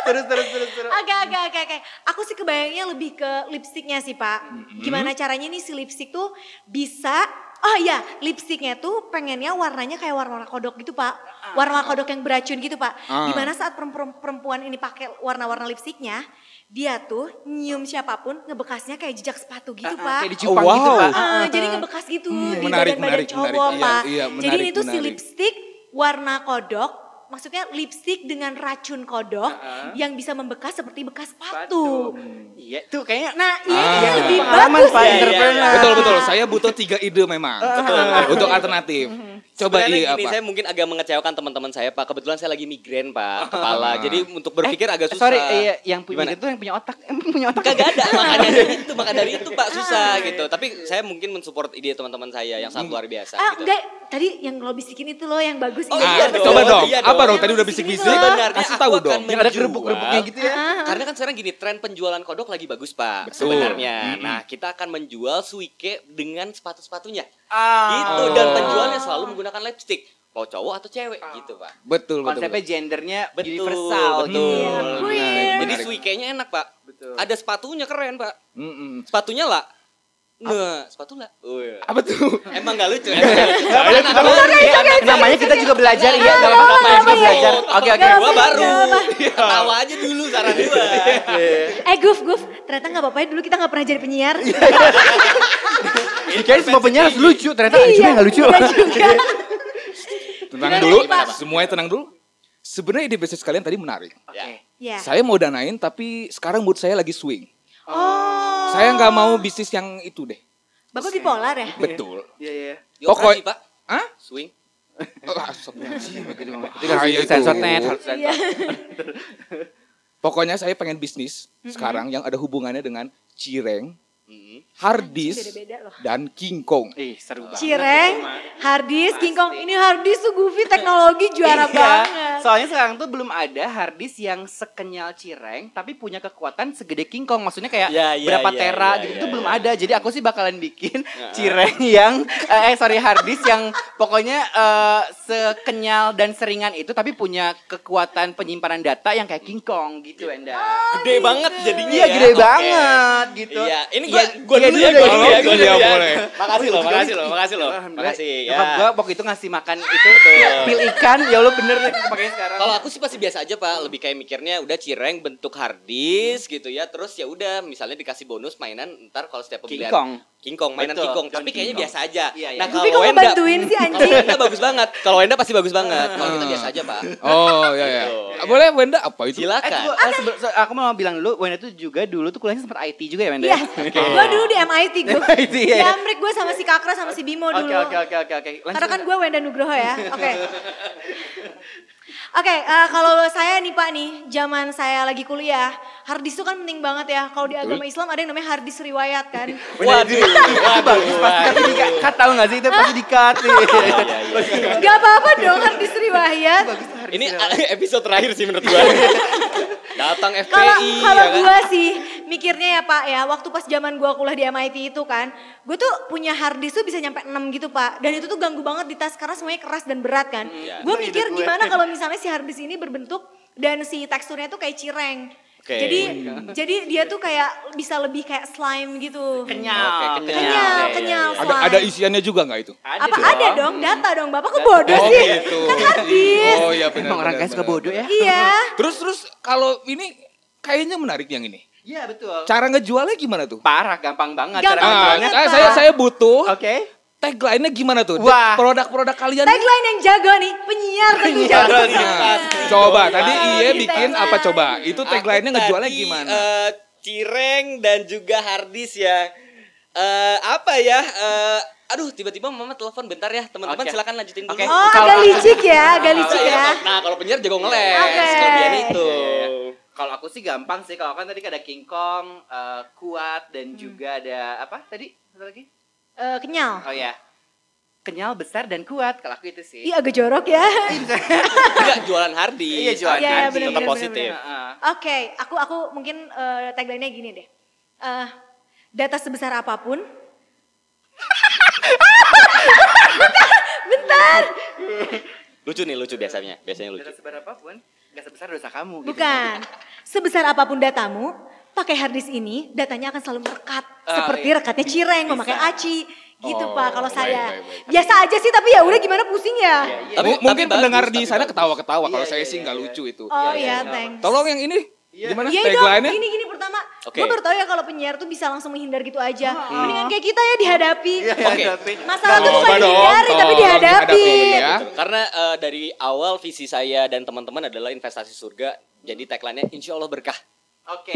Speaker 1: terus terus terus terus
Speaker 2: Oke, oke, oke, oke. Aku sih kebayangnya lebih ke lipstiknya sih, Pak.
Speaker 1: Mm-hmm.
Speaker 2: Gimana caranya nih si lipstik tuh bisa Oh iya, lipstiknya tuh pengennya warnanya kayak warna-warna kodok gitu, Pak. Warna-warna kodok yang beracun gitu, Pak.
Speaker 4: Ah.
Speaker 2: Gimana saat perempuan, perempuan ini pakai warna-warna lipstiknya, dia tuh nyium siapapun ngebekasnya kayak jejak sepatu gitu, Pak.
Speaker 1: kayak dicupang
Speaker 4: Oh,
Speaker 1: gitu
Speaker 4: wow.
Speaker 1: pak
Speaker 2: Ah, jadi ngebekas gitu di
Speaker 4: Hmm. menarik,
Speaker 2: badan-badan
Speaker 4: menarik,
Speaker 2: cowok,
Speaker 4: menarik. Iya,
Speaker 2: Pak.
Speaker 4: iya,
Speaker 2: jadi
Speaker 4: menarik,
Speaker 2: ini tuh si
Speaker 4: menarik.
Speaker 2: lipstick warna kodok, maksudnya lipstick dengan racun kodok yang bisa membekas seperti bekas sepatu.
Speaker 1: iya tuh kayaknya
Speaker 2: Nah, iya ini
Speaker 4: Ah.
Speaker 2: lebih
Speaker 1: pengalaman
Speaker 2: bagus
Speaker 1: pak
Speaker 2: ya.
Speaker 1: entrepreneur
Speaker 4: Betul betul, saya butuh tiga ide memang untuk alternatif. Coba
Speaker 3: Mhm. Sebenarnya
Speaker 4: ide
Speaker 3: gini,
Speaker 4: apa?
Speaker 3: saya mungkin agak mengecewakan teman-teman saya, Pak. Kebetulan saya lagi migrain, Pak, kepala. Jadi untuk berpikir agak
Speaker 1: Eh,
Speaker 3: susah.
Speaker 1: sorry iya, yang punya
Speaker 3: Gimana?
Speaker 1: itu yang punya otak emang punya otak
Speaker 3: Kagak ada, maka dari itu, maka dari itu Pak susah
Speaker 1: Ah.
Speaker 3: gitu. Tapi saya mungkin mensupport ide teman-teman saya yang sangat luar biasa.
Speaker 2: Ah,
Speaker 3: gitu.
Speaker 2: enggak, tadi yang lo bisikin itu lo yang bagus.
Speaker 3: Oh,
Speaker 2: ini.
Speaker 3: iya
Speaker 4: Ah,
Speaker 3: dong,
Speaker 4: coba dong,
Speaker 3: iya
Speaker 4: apa
Speaker 3: dong.
Speaker 4: dong? Tadi udah
Speaker 2: Bisnis
Speaker 4: bisik-bisik,
Speaker 2: ini doang.
Speaker 3: Sebenarnya
Speaker 4: kasih
Speaker 3: aku
Speaker 4: tahu
Speaker 3: akan
Speaker 4: dong.
Speaker 1: yang ada
Speaker 3: menjual.
Speaker 1: gerbuk-gerbuknya gitu ya
Speaker 2: Ah,
Speaker 3: Karena kan sekarang gini, tren penjualan kodok lagi bagus, Pak.
Speaker 4: Betul.
Speaker 3: Sebenarnya. Nah, kita akan menjual suike dengan sepatu-sepatunya.
Speaker 1: ah
Speaker 3: Gitu dan penjualnya selalu menggunakan lipstick. Mau cowok atau cewek gitu, Pak.
Speaker 4: Betul, betul.
Speaker 1: konsepnya gendernya
Speaker 3: Betul,
Speaker 1: universal gitu.
Speaker 3: betul. Nah,
Speaker 2: Iya, queer.
Speaker 3: Jadi suikenya enak, Pak.
Speaker 1: Betul.
Speaker 3: Ada sepatunya keren, Pak.
Speaker 4: Mm-mm.
Speaker 3: Sepatunya lah. Nah, sepatu lah.
Speaker 1: Oh, iya.
Speaker 4: Apa tuh?
Speaker 3: Emang gak lucu. Emang gak lucu. Anak-anak
Speaker 1: Namanya-
Speaker 3: baru, ya, anak-anak
Speaker 1: namanya kita juga belajar iya nggak apa-apa namanya kita belajar oke Iya. oke
Speaker 2: Nggak
Speaker 3: Gua
Speaker 2: apa-apa,
Speaker 3: baru.
Speaker 2: nggak apa-apa.
Speaker 3: Ketawa aja dulu saran gua.
Speaker 2: Eh, Guf, Guf, ternyata nggak apa-apa ya dulu kita nggak pernah jadi penyiar.
Speaker 4: Iya.
Speaker 1: Kayaknya semua penyiar harus lucu, ternyata ada juga yang nggak lucu.
Speaker 2: udah Iya, juga.
Speaker 4: Tenang
Speaker 2: Gimana
Speaker 4: dulu,
Speaker 2: nih, Pak?
Speaker 4: semuanya tenang dulu. Sebenarnya ide bisnis kalian tadi menarik.
Speaker 1: Oke.
Speaker 3: Iya.
Speaker 2: Ya.
Speaker 4: Saya mau danain tapi sekarang mood saya lagi swing.
Speaker 2: Oh,
Speaker 4: Saya nggak mau bisnis yang itu deh.
Speaker 2: Bapak bipolar ya?
Speaker 4: Betul.
Speaker 1: Iya, iya.
Speaker 4: Pokoknya-
Speaker 3: Pokoknya, Pak.
Speaker 4: Hah?
Speaker 3: Swing.
Speaker 4: Oh, astagfirullahaladzim.
Speaker 1: Kita
Speaker 4: Bahaya
Speaker 1: harus
Speaker 4: itu.
Speaker 1: sensor net, harus sensor.
Speaker 2: Iya.
Speaker 4: Pokoknya saya pengen bisnis sekarang yang ada hubungannya dengan cireng,
Speaker 3: Hmm.
Speaker 4: hardis,
Speaker 2: Beda-beda loh.
Speaker 4: dan King Kong.
Speaker 1: Ih, seru banget.
Speaker 2: Cireng, Hardis, King Kong. Ini Hardis tuh Goofy teknologi juara
Speaker 1: Iya,
Speaker 2: banget.
Speaker 1: Soalnya sekarang tuh belum ada harddisk yang sekenyal cireng tapi punya kekuatan segede King Kong. Maksudnya kayak
Speaker 3: Ya, ya,
Speaker 1: berapa
Speaker 3: ya,
Speaker 1: tera
Speaker 3: ya,
Speaker 1: gitu
Speaker 3: ya,
Speaker 1: itu
Speaker 3: ya.
Speaker 1: belum ada. Jadi aku sih bakalan bikin cireng yang eh eh, sorry harddisk yang pokoknya eh, sekenyal dan seringan itu tapi punya kekuatan penyimpanan data yang kayak King Kong gitu, Enda.
Speaker 3: Gede banget jadinya
Speaker 1: Iya
Speaker 3: ya.
Speaker 1: gede
Speaker 3: Ah. Oke.
Speaker 1: banget gitu.
Speaker 3: Iya, ini gua
Speaker 1: Iya,
Speaker 3: gua
Speaker 1: iya
Speaker 3: dulu ya,
Speaker 1: dulu
Speaker 3: gua
Speaker 1: deh.
Speaker 3: dulu ya, gua
Speaker 4: Iya,
Speaker 3: dulu ya.
Speaker 4: boleh.
Speaker 3: Makasih loh, makasih loh, makasih loh.
Speaker 1: Alhamdulillah.
Speaker 3: Makasih
Speaker 1: Nyokap
Speaker 3: ya.
Speaker 1: gua waktu itu ngasih makan itu pil ikan, ya lo bener deh pakainya sekarang.
Speaker 3: Kalau aku sih pasti biasa aja pak, lebih kayak mikirnya udah cireng bentuk harddisk
Speaker 1: Hmm.
Speaker 3: gitu ya, terus ya udah misalnya dikasih bonus mainan ntar kalau setiap
Speaker 1: King
Speaker 3: pembelian
Speaker 1: Kong.
Speaker 3: King Kong mainan
Speaker 1: Betul,
Speaker 3: King Kong,
Speaker 1: John
Speaker 3: tapi
Speaker 1: King
Speaker 3: kayaknya
Speaker 1: Kong.
Speaker 3: biasa aja.
Speaker 1: Iya, iya.
Speaker 3: Nah
Speaker 1: Tapi
Speaker 3: kalau
Speaker 2: kok
Speaker 3: Wenda,
Speaker 2: ngebantuin sih, anjing?
Speaker 3: kalau Wenda bagus banget, kalau Wenda pasti bagus banget.
Speaker 1: Ah.
Speaker 3: Kalau kita
Speaker 4: Hmm.
Speaker 3: biasa aja pak,
Speaker 4: Oh ya ya.
Speaker 1: iya.
Speaker 4: Boleh Wenda apa itu?
Speaker 1: Eh,
Speaker 3: silakan.
Speaker 1: tunggu, eh, sebelum- se- aku mau bilang dulu, Wenda tuh juga dulu tuh kuliahnya sempat IT juga ya, Wenda? ya?
Speaker 2: Iya, gue dulu di MIT gue.
Speaker 1: MIT,
Speaker 2: Di
Speaker 1: iya.
Speaker 2: Amrik gue sama si Kakra sama si Bimo dulu.
Speaker 1: Oke, oke, oke, oke, oke. Lanjut.
Speaker 2: Karena kan gue Wenda Nugroho ya. Oke. Oke, eh, kalau saya nih Pak nih, zaman saya lagi kuliah, harddisk itu kan penting banget ya. Kalau di agama Islam ada yang namanya harddisk riwayat kan.
Speaker 3: Waduh, waduh,
Speaker 1: Pasti di cut, cut, tau gak sih? Itu pasti di cut nih. Iya.
Speaker 2: Gak apa-apa dong harddisk riwayat.
Speaker 3: Ini episode terakhir sih menurut gua. Datang FPI,
Speaker 2: Kalau kalau
Speaker 3: ya kan?
Speaker 2: gue sih mikirnya ya Pak ya, waktu pas zaman gue kuliah di MIT itu kan, gue tuh punya harddisk tuh bisa nyampe 6 gitu Pak. Dan itu tuh ganggu banget di tas karena semuanya keras dan berat kan. Gue
Speaker 1: Itu ide
Speaker 2: mikir
Speaker 1: gue.
Speaker 2: gimana kalau misalnya si harddisk ini berbentuk dan si teksturnya tuh kayak cireng.
Speaker 3: Oke.
Speaker 2: Jadi jadi dia tuh kayak bisa lebih kayak slime gitu.
Speaker 1: Kenyal.
Speaker 3: Oke, kenyal.
Speaker 2: Kenyal,
Speaker 3: Oke,
Speaker 2: kenyal
Speaker 3: iya,
Speaker 2: slime.
Speaker 4: Ada ada isiannya juga nggak itu?
Speaker 2: Apa ada dong data dong Bapak kok bodoh
Speaker 4: Oh
Speaker 2: sih?
Speaker 4: gitu.
Speaker 2: Kan harddisk.
Speaker 4: Oh iya benar.
Speaker 1: Emang orang
Speaker 4: benar,
Speaker 1: kaya suka
Speaker 4: benar.
Speaker 1: bodoh ya?
Speaker 2: Iya.
Speaker 4: Terus terus kalau ini kayaknya menarik yang ini.
Speaker 1: Iya, betul.
Speaker 4: Cara ngejualnya gimana tuh?
Speaker 1: Parah, gampang banget.
Speaker 2: Gampang
Speaker 4: Ah,
Speaker 1: ngejualnya.
Speaker 2: banget, Eh.
Speaker 4: saya
Speaker 2: Pak.
Speaker 4: saya, saya butuh
Speaker 1: Oke.
Speaker 4: tagline-nya gimana tuh?
Speaker 1: Wah.
Speaker 4: Produk-produk kalian
Speaker 2: Tagline yang jago nih, penyiar tentu
Speaker 1: Penyiar,
Speaker 2: jago.
Speaker 1: iya.
Speaker 4: Coba tadi
Speaker 2: Wow,
Speaker 4: Iye
Speaker 2: di
Speaker 4: bikin
Speaker 2: tagline.
Speaker 4: apa coba? Itu
Speaker 3: Oh,
Speaker 4: tagline-nya
Speaker 3: iya. Aku
Speaker 4: ngejualnya
Speaker 3: tadi,
Speaker 4: gimana?
Speaker 3: eh, cireng dan juga hardis yang eh, apa ya? eh, aduh, tiba-tiba mama telepon bentar ya,
Speaker 1: Oke.
Speaker 3: teman-teman silakan lanjutin dulu.
Speaker 1: Oke.
Speaker 2: Oh,
Speaker 1: Kalau-
Speaker 2: agak licik ya, agak licik
Speaker 3: Iya,
Speaker 2: ya.
Speaker 3: Nah, kalau penyiar jago ngeles,
Speaker 2: Oke.
Speaker 3: kelebihan itu.
Speaker 1: Iya, iya, Kalau aku sih gampang sih. Kalau kan tadi ada King Kong, eh, kuat,
Speaker 2: Hmm.
Speaker 1: dan juga ada apa tadi? Satu lagi?
Speaker 2: Eh, kenyal.
Speaker 1: Oh ya. Kenyal, besar, dan kuat. Kalau aku itu sih.
Speaker 2: Iya agak jorok ya.
Speaker 3: Enggak jualan hardis.
Speaker 1: Iya, jualan
Speaker 2: Iya, iya,
Speaker 3: hardis,
Speaker 2: bener,
Speaker 3: tetap
Speaker 2: bener,
Speaker 3: positif.
Speaker 1: Heeh.
Speaker 2: Oke, aku aku mungkin eh, tagline-nya gini deh. Eh, data sebesar apapun. bentar,
Speaker 3: Lucu nih, lucu biasanya. Biasanya lucu.
Speaker 1: Data seberapa pun, gak sebesar dosa kamu.
Speaker 2: bentar.
Speaker 1: gitu.
Speaker 2: Bukan. Sebesar apapun datamu, pakai harddisk ini datanya akan selalu merekat.
Speaker 1: Ah,
Speaker 2: seperti
Speaker 1: iya.
Speaker 2: rekatnya cireng memakai aci. Gitu
Speaker 4: Oh,
Speaker 2: Pak kalau
Speaker 4: baik,
Speaker 2: saya.
Speaker 4: baik, baik.
Speaker 2: Biasa aja sih tapi ya udah gimana pusing ya.
Speaker 1: Iya,
Speaker 4: Mu-
Speaker 3: tapi
Speaker 4: mungkin
Speaker 3: bagus,
Speaker 4: pendengar
Speaker 3: tapi
Speaker 4: di sana
Speaker 3: bagus.
Speaker 4: ketawa-ketawa kalau
Speaker 1: Iya,
Speaker 4: saya
Speaker 1: iya,
Speaker 4: sih nggak
Speaker 1: iya.
Speaker 4: lucu itu.
Speaker 1: iya,
Speaker 2: Oh
Speaker 1: iya.
Speaker 2: ya, thanks.
Speaker 4: Tolong yang ini gimana
Speaker 2: Iya dong,
Speaker 4: tagline-nya?
Speaker 2: gini gini pertama,
Speaker 3: Oke.
Speaker 2: gue baru tahu ya kalau penyiar tuh bisa langsung menghindar gitu aja. Mendingan kayak kita ya dihadapi.
Speaker 4: Iya,
Speaker 3: Oke.
Speaker 1: Iya, Tapi-
Speaker 2: Masalah tuh
Speaker 4: Coba
Speaker 2: bukan
Speaker 4: dong,
Speaker 2: dihindari tapi
Speaker 4: tolong
Speaker 2: dihadapi.
Speaker 4: dihadapi, ya.
Speaker 3: Betul. Karena eh, dari awal visi saya dan teman-teman adalah investasi surga. Jadi tagline-nya insya Allah berkah.
Speaker 1: Oke.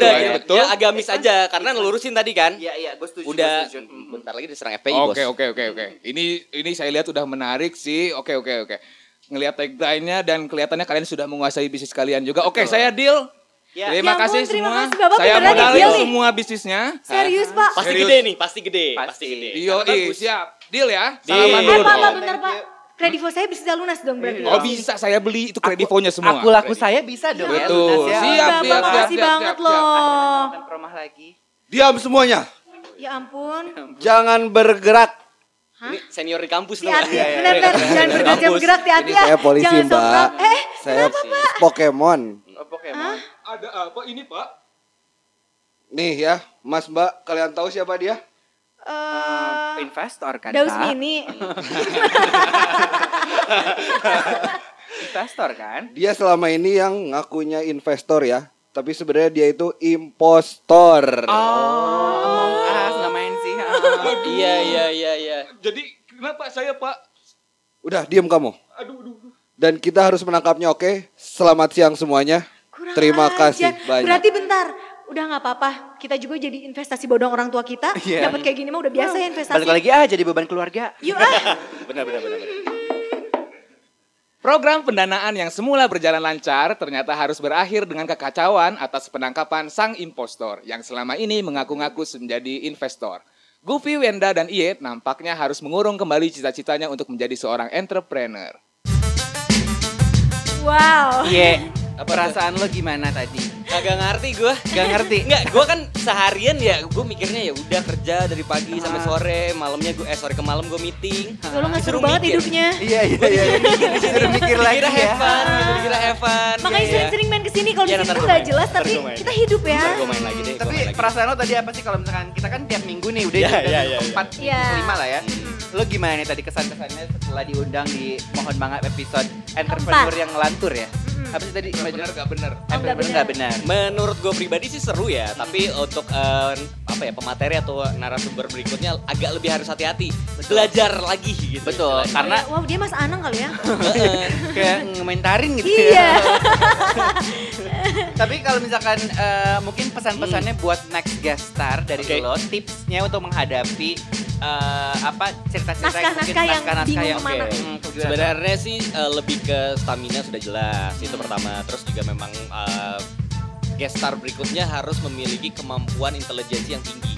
Speaker 3: Udah
Speaker 4: iya,
Speaker 3: ya,
Speaker 4: betul.
Speaker 3: ya agamis aja karena nelurusin tadi kan.
Speaker 1: Iya iya, gue setuju. gua
Speaker 3: Udah
Speaker 1: setuju. Mm.
Speaker 3: bentar lagi diserang FPI bos.
Speaker 4: Oke oke oke oke. Ini ini saya lihat udah menarik sih. Oke oke oke. Ngelihat tagline-nya dan kelihatannya kalian sudah menguasai bisnis kalian juga. Oke, saya deal.
Speaker 1: Ya.
Speaker 2: Ya
Speaker 4: Terima
Speaker 2: ampun,
Speaker 4: kasih
Speaker 2: terima
Speaker 4: semua.
Speaker 2: kasih, Bapak
Speaker 4: saya
Speaker 2: beneran
Speaker 3: nih,
Speaker 4: modalin
Speaker 3: deal nih.
Speaker 4: semua bisnisnya.
Speaker 2: Serius pak?
Speaker 3: Pasti
Speaker 4: Serius.
Speaker 3: gede nih, pasti gede, pasti,
Speaker 1: Pasti.
Speaker 3: gede.
Speaker 4: Yo,
Speaker 3: Karena bagus.
Speaker 4: siap. Deal ya.
Speaker 3: Deal.
Speaker 4: Salaman
Speaker 2: Eh
Speaker 4: dulu.
Speaker 2: pak, pak
Speaker 4: dong.
Speaker 2: bentar pak. Kredivo saya bisa lunas dong berarti.
Speaker 4: Oh, bisa saya beli itu kredivonya semua.
Speaker 1: Aku laku saya bisa dong ya.
Speaker 4: Betul.
Speaker 1: Lunas ya.
Speaker 2: Ya,
Speaker 4: Siap,
Speaker 2: Bapak,
Speaker 4: siap, siap,
Speaker 2: makasih
Speaker 4: siap,
Speaker 2: banget
Speaker 4: siap, siap.
Speaker 2: loh.
Speaker 1: Makan perumah lagi.
Speaker 6: Diam semuanya.
Speaker 2: Ya ampun.
Speaker 6: Jangan bergerak.
Speaker 3: Ini senior di kampus
Speaker 2: Di
Speaker 3: dong.
Speaker 2: hati,
Speaker 4: Iya,
Speaker 2: benar-benar jangan bergerak, jangan bergerak di hati ya.
Speaker 6: Saya polisi,
Speaker 2: Jangan
Speaker 6: Mbak.
Speaker 2: sombong. Eh,
Speaker 6: saya Pokemon.
Speaker 1: Oh, Pokemon.
Speaker 4: Ada apa ini, Pak?
Speaker 6: Nih ya, Mas Mbak, kalian tahu siapa dia?
Speaker 2: eh,
Speaker 1: Investor kan.
Speaker 2: Daus
Speaker 1: Pak?
Speaker 2: mini.
Speaker 1: Investor kan.
Speaker 6: Dia selama ini yang ngakunya investor ya, tapi sebenarnya dia itu impostor.
Speaker 1: Oh, Among Us namain sih. ah.
Speaker 3: Iya, iya, iya, iya.
Speaker 4: Jadi kenapa saya, Pak?
Speaker 6: Udah, diem kamu.
Speaker 4: Aduh, aduh. aduh.
Speaker 6: Dan kita harus menangkapnya, oke? Selamat siang semuanya.
Speaker 2: Kurang
Speaker 6: Terima
Speaker 2: ajar.
Speaker 6: kasih banyak.
Speaker 2: Berarti bentar, udah nggak apa-apa. Kita juga jadi investasi bodong orang tua kita.
Speaker 1: Iya.
Speaker 2: Dapat kayak gini mah udah biasa ya investasi.
Speaker 1: Balik lagi ah jadi beban keluarga.
Speaker 2: Yuk ah.
Speaker 3: Benar, benar, benar. benar.
Speaker 4: Program pendanaan yang semula berjalan lancar ternyata harus berakhir dengan kekacauan atas penangkapan sang impostor yang selama ini mengaku-ngaku menjadi investor. Goofy, Wenda, dan Iye nampaknya harus mengurung kembali cita-citanya untuk menjadi seorang entrepreneur.
Speaker 2: Wow, Wow.
Speaker 1: Iya.
Speaker 3: Apa tuh?
Speaker 1: Perasaan lo gimana tadi?
Speaker 3: Kagak ngerti gue.
Speaker 1: Gak ngerti.
Speaker 3: Enggak, gue kan seharian ya, gue mikirnya ya udah kerja dari pagi sampai
Speaker 1: Ah.
Speaker 3: sore, malamnya gue eh sore ke malam gue meeting.
Speaker 2: Lo gak Ya seru
Speaker 3: Disuruh
Speaker 2: banget
Speaker 3: mikir.
Speaker 2: hidupnya.
Speaker 1: Iya iya iya. Disuruh mikir lagi ya.
Speaker 3: Dikira have fun, gitu, dikira have fun.
Speaker 2: Makanya
Speaker 3: Iya.
Speaker 2: sering-sering main kesini kalau di
Speaker 3: Iya,
Speaker 2: sini
Speaker 3: ntar
Speaker 2: tuh
Speaker 3: gua
Speaker 2: nggak
Speaker 3: main,
Speaker 2: jelas
Speaker 3: ntar
Speaker 2: tapi
Speaker 3: gua main.
Speaker 2: kita hidup ya.
Speaker 3: Ntar gue main lagi deh. gua
Speaker 1: Hmm, Tapi
Speaker 3: main lagi.
Speaker 1: perasaan lo tadi apa sih kalau misalkan kita kan tiap minggu nih udah
Speaker 3: Iya,
Speaker 1: udah
Speaker 3: iya, iya,
Speaker 1: minggu
Speaker 3: iya.
Speaker 1: keempat minggu
Speaker 2: Iya.
Speaker 1: kelima lah ya. Lo gimana nih tadi kesan-kesannya setelah diundang di Mohon Bangat episode entrepreneur yang ngelantur ya?
Speaker 2: Hmm.
Speaker 1: Apa sih tadi?
Speaker 4: Bener gak bener?
Speaker 1: Entrepreneur
Speaker 2: bener.
Speaker 1: nggak benar.
Speaker 3: Menurut gue pribadi sih seru ya, tapi untuk eh, apa ya pemateri atau narasumber berikutnya agak lebih harus hati-hati, belajar lagi gitu.
Speaker 1: Betul,
Speaker 3: istilahnya.
Speaker 1: karena
Speaker 2: Kayak, wow dia Mas Anang kali ya.
Speaker 1: kayak ngomentarin gitu
Speaker 2: iya.
Speaker 1: ya. Tapi kalau misalkan eh, mungkin pesan-pesannya
Speaker 2: Hmm.
Speaker 1: buat next guest star dari
Speaker 3: Oke.
Speaker 1: lo, tipsnya untuk menghadapi eh, apa cerita-cerita
Speaker 2: Naskah-naskah yang bingung kemana.
Speaker 1: Hmm, kejuaraan.
Speaker 3: Sebenarnya sih eh, lebih ke stamina sudah jelas itu pertama. Terus juga memang eh, guest star berikutnya harus memiliki kemampuan intelijensi yang tinggi.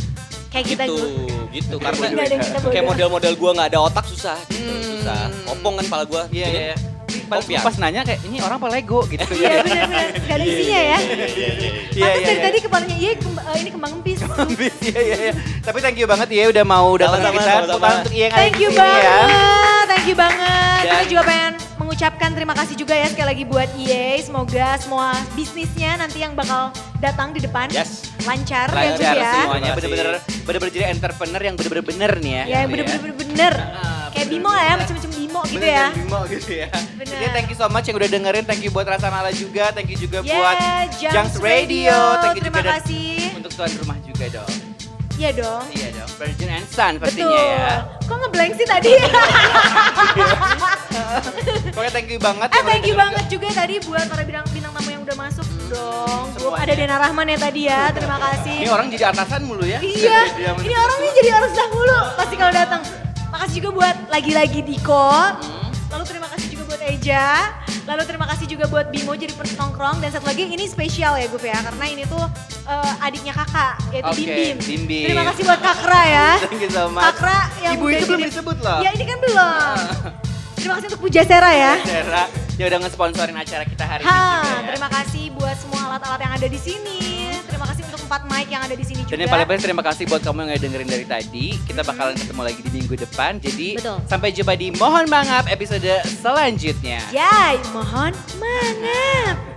Speaker 2: Kayak kita
Speaker 3: gitu,
Speaker 2: gitu.
Speaker 3: gitu.
Speaker 2: Nggak
Speaker 3: Karena
Speaker 2: ada yang kita
Speaker 3: kayak
Speaker 2: bodoh.
Speaker 3: model-model gua nggak ada otak susah, gitu,
Speaker 1: Hmm.
Speaker 3: susah. Opong kan pala gua.
Speaker 1: Iya
Speaker 3: gini.
Speaker 1: iya. Pas,
Speaker 3: Kopian.
Speaker 1: pas nanya kayak ini orang apa Lego gitu. iya,
Speaker 2: Iya benar-benar nggak ada isinya
Speaker 3: iya,
Speaker 2: ya. Pantes dari tadi kepalanya iya kemb- eh, ini kembang empis.
Speaker 1: Habis, iya iya iya. Tapi thank you banget ya udah mau datang ke
Speaker 3: Sama-sama,
Speaker 1: kita.
Speaker 3: sama-sama.
Speaker 1: Tepuk tangan untuk Iya yang ada
Speaker 2: Thank
Speaker 1: di
Speaker 2: you
Speaker 1: sini
Speaker 2: banget, thank you banget. Kita
Speaker 1: Dan-
Speaker 2: juga pengen mengucapkan terima kasih juga ya sekali lagi buat EA. Semoga semua bisnisnya nanti yang bakal datang di depan
Speaker 3: Yes.
Speaker 2: lancar, ya
Speaker 1: Lancar
Speaker 2: Bu ya.
Speaker 1: semuanya,
Speaker 3: Terima kasih.
Speaker 1: bener-bener bener-bener jadi entrepreneur yang bener-bener bener nih ya.
Speaker 2: Ya yang bener-bener bener. Kayak Bimo lah ya, macam-macam Bimo gitu ya.
Speaker 1: Bimo gitu ya.
Speaker 2: Bener.
Speaker 1: Jadi thank you so much yang udah dengerin, thank you buat Rasa Mala juga, thank you juga
Speaker 2: Yeah,
Speaker 1: buat
Speaker 2: Junks
Speaker 1: Junks Radio,
Speaker 2: Radio.
Speaker 1: thank you juga
Speaker 2: Terima
Speaker 1: dan
Speaker 2: kasih.
Speaker 1: untuk tuan rumah juga dong.
Speaker 2: Iya dong.
Speaker 1: Iya dong, Virgin and Sun
Speaker 2: Betul.
Speaker 1: pastinya ya.
Speaker 2: Kok ngeblank sih tadi?
Speaker 1: Pokoknya thank you banget.
Speaker 2: eh
Speaker 1: yang udah
Speaker 2: thank you
Speaker 1: dengerin.
Speaker 2: banget juga tadi buat para bintang bintang tamu yang udah masuk dong. Gua-
Speaker 1: semuanya.
Speaker 2: ada Dena Rahman ya tadi ya. Terima kasih.
Speaker 1: Ini orang jadi atasan mulu ya.
Speaker 2: Iya,
Speaker 1: Dia
Speaker 2: ini orang nih jadi orang susah mulu pasti kalau datang. Makasih juga buat lagi-lagi Diko.
Speaker 1: Hmm.
Speaker 2: Lalu terima kasih juga buat Eja. Lalu terima kasih juga buat Bimo jadi pernah nongkrong. Dan satu lagi ini spesial ya Guf ya. Karena ini tuh eh, adiknya kakak yaitu
Speaker 1: Oke,
Speaker 2: Bimbim.
Speaker 1: Bimbim.
Speaker 2: Terima kasih buat Kakra ya.
Speaker 1: Thank you so much.
Speaker 2: Kakra yang
Speaker 1: Ibu
Speaker 2: udah
Speaker 1: itu belum
Speaker 2: jadi-
Speaker 1: disebut loh. Ah.
Speaker 2: Ya ini kan belum. Terima kasih untuk Puja Sera ya.
Speaker 1: Sarah, dia udah ngesponsorin acara kita hari ini
Speaker 2: Ha,
Speaker 1: juga ya.
Speaker 2: terima kasih buat semua alat-alat yang ada di sini. Terima kasih untuk empat mic yang ada di sini juga.
Speaker 1: Dan yang paling penting terima kasih buat kamu yang udah dengerin dari tadi. Kita bakalan ketemu lagi di minggu depan. Jadi
Speaker 2: Betul.
Speaker 1: sampai
Speaker 2: Iya.
Speaker 1: jumpa di Mohon Mangap episode selanjutnya.
Speaker 2: Yay, mohon mangap.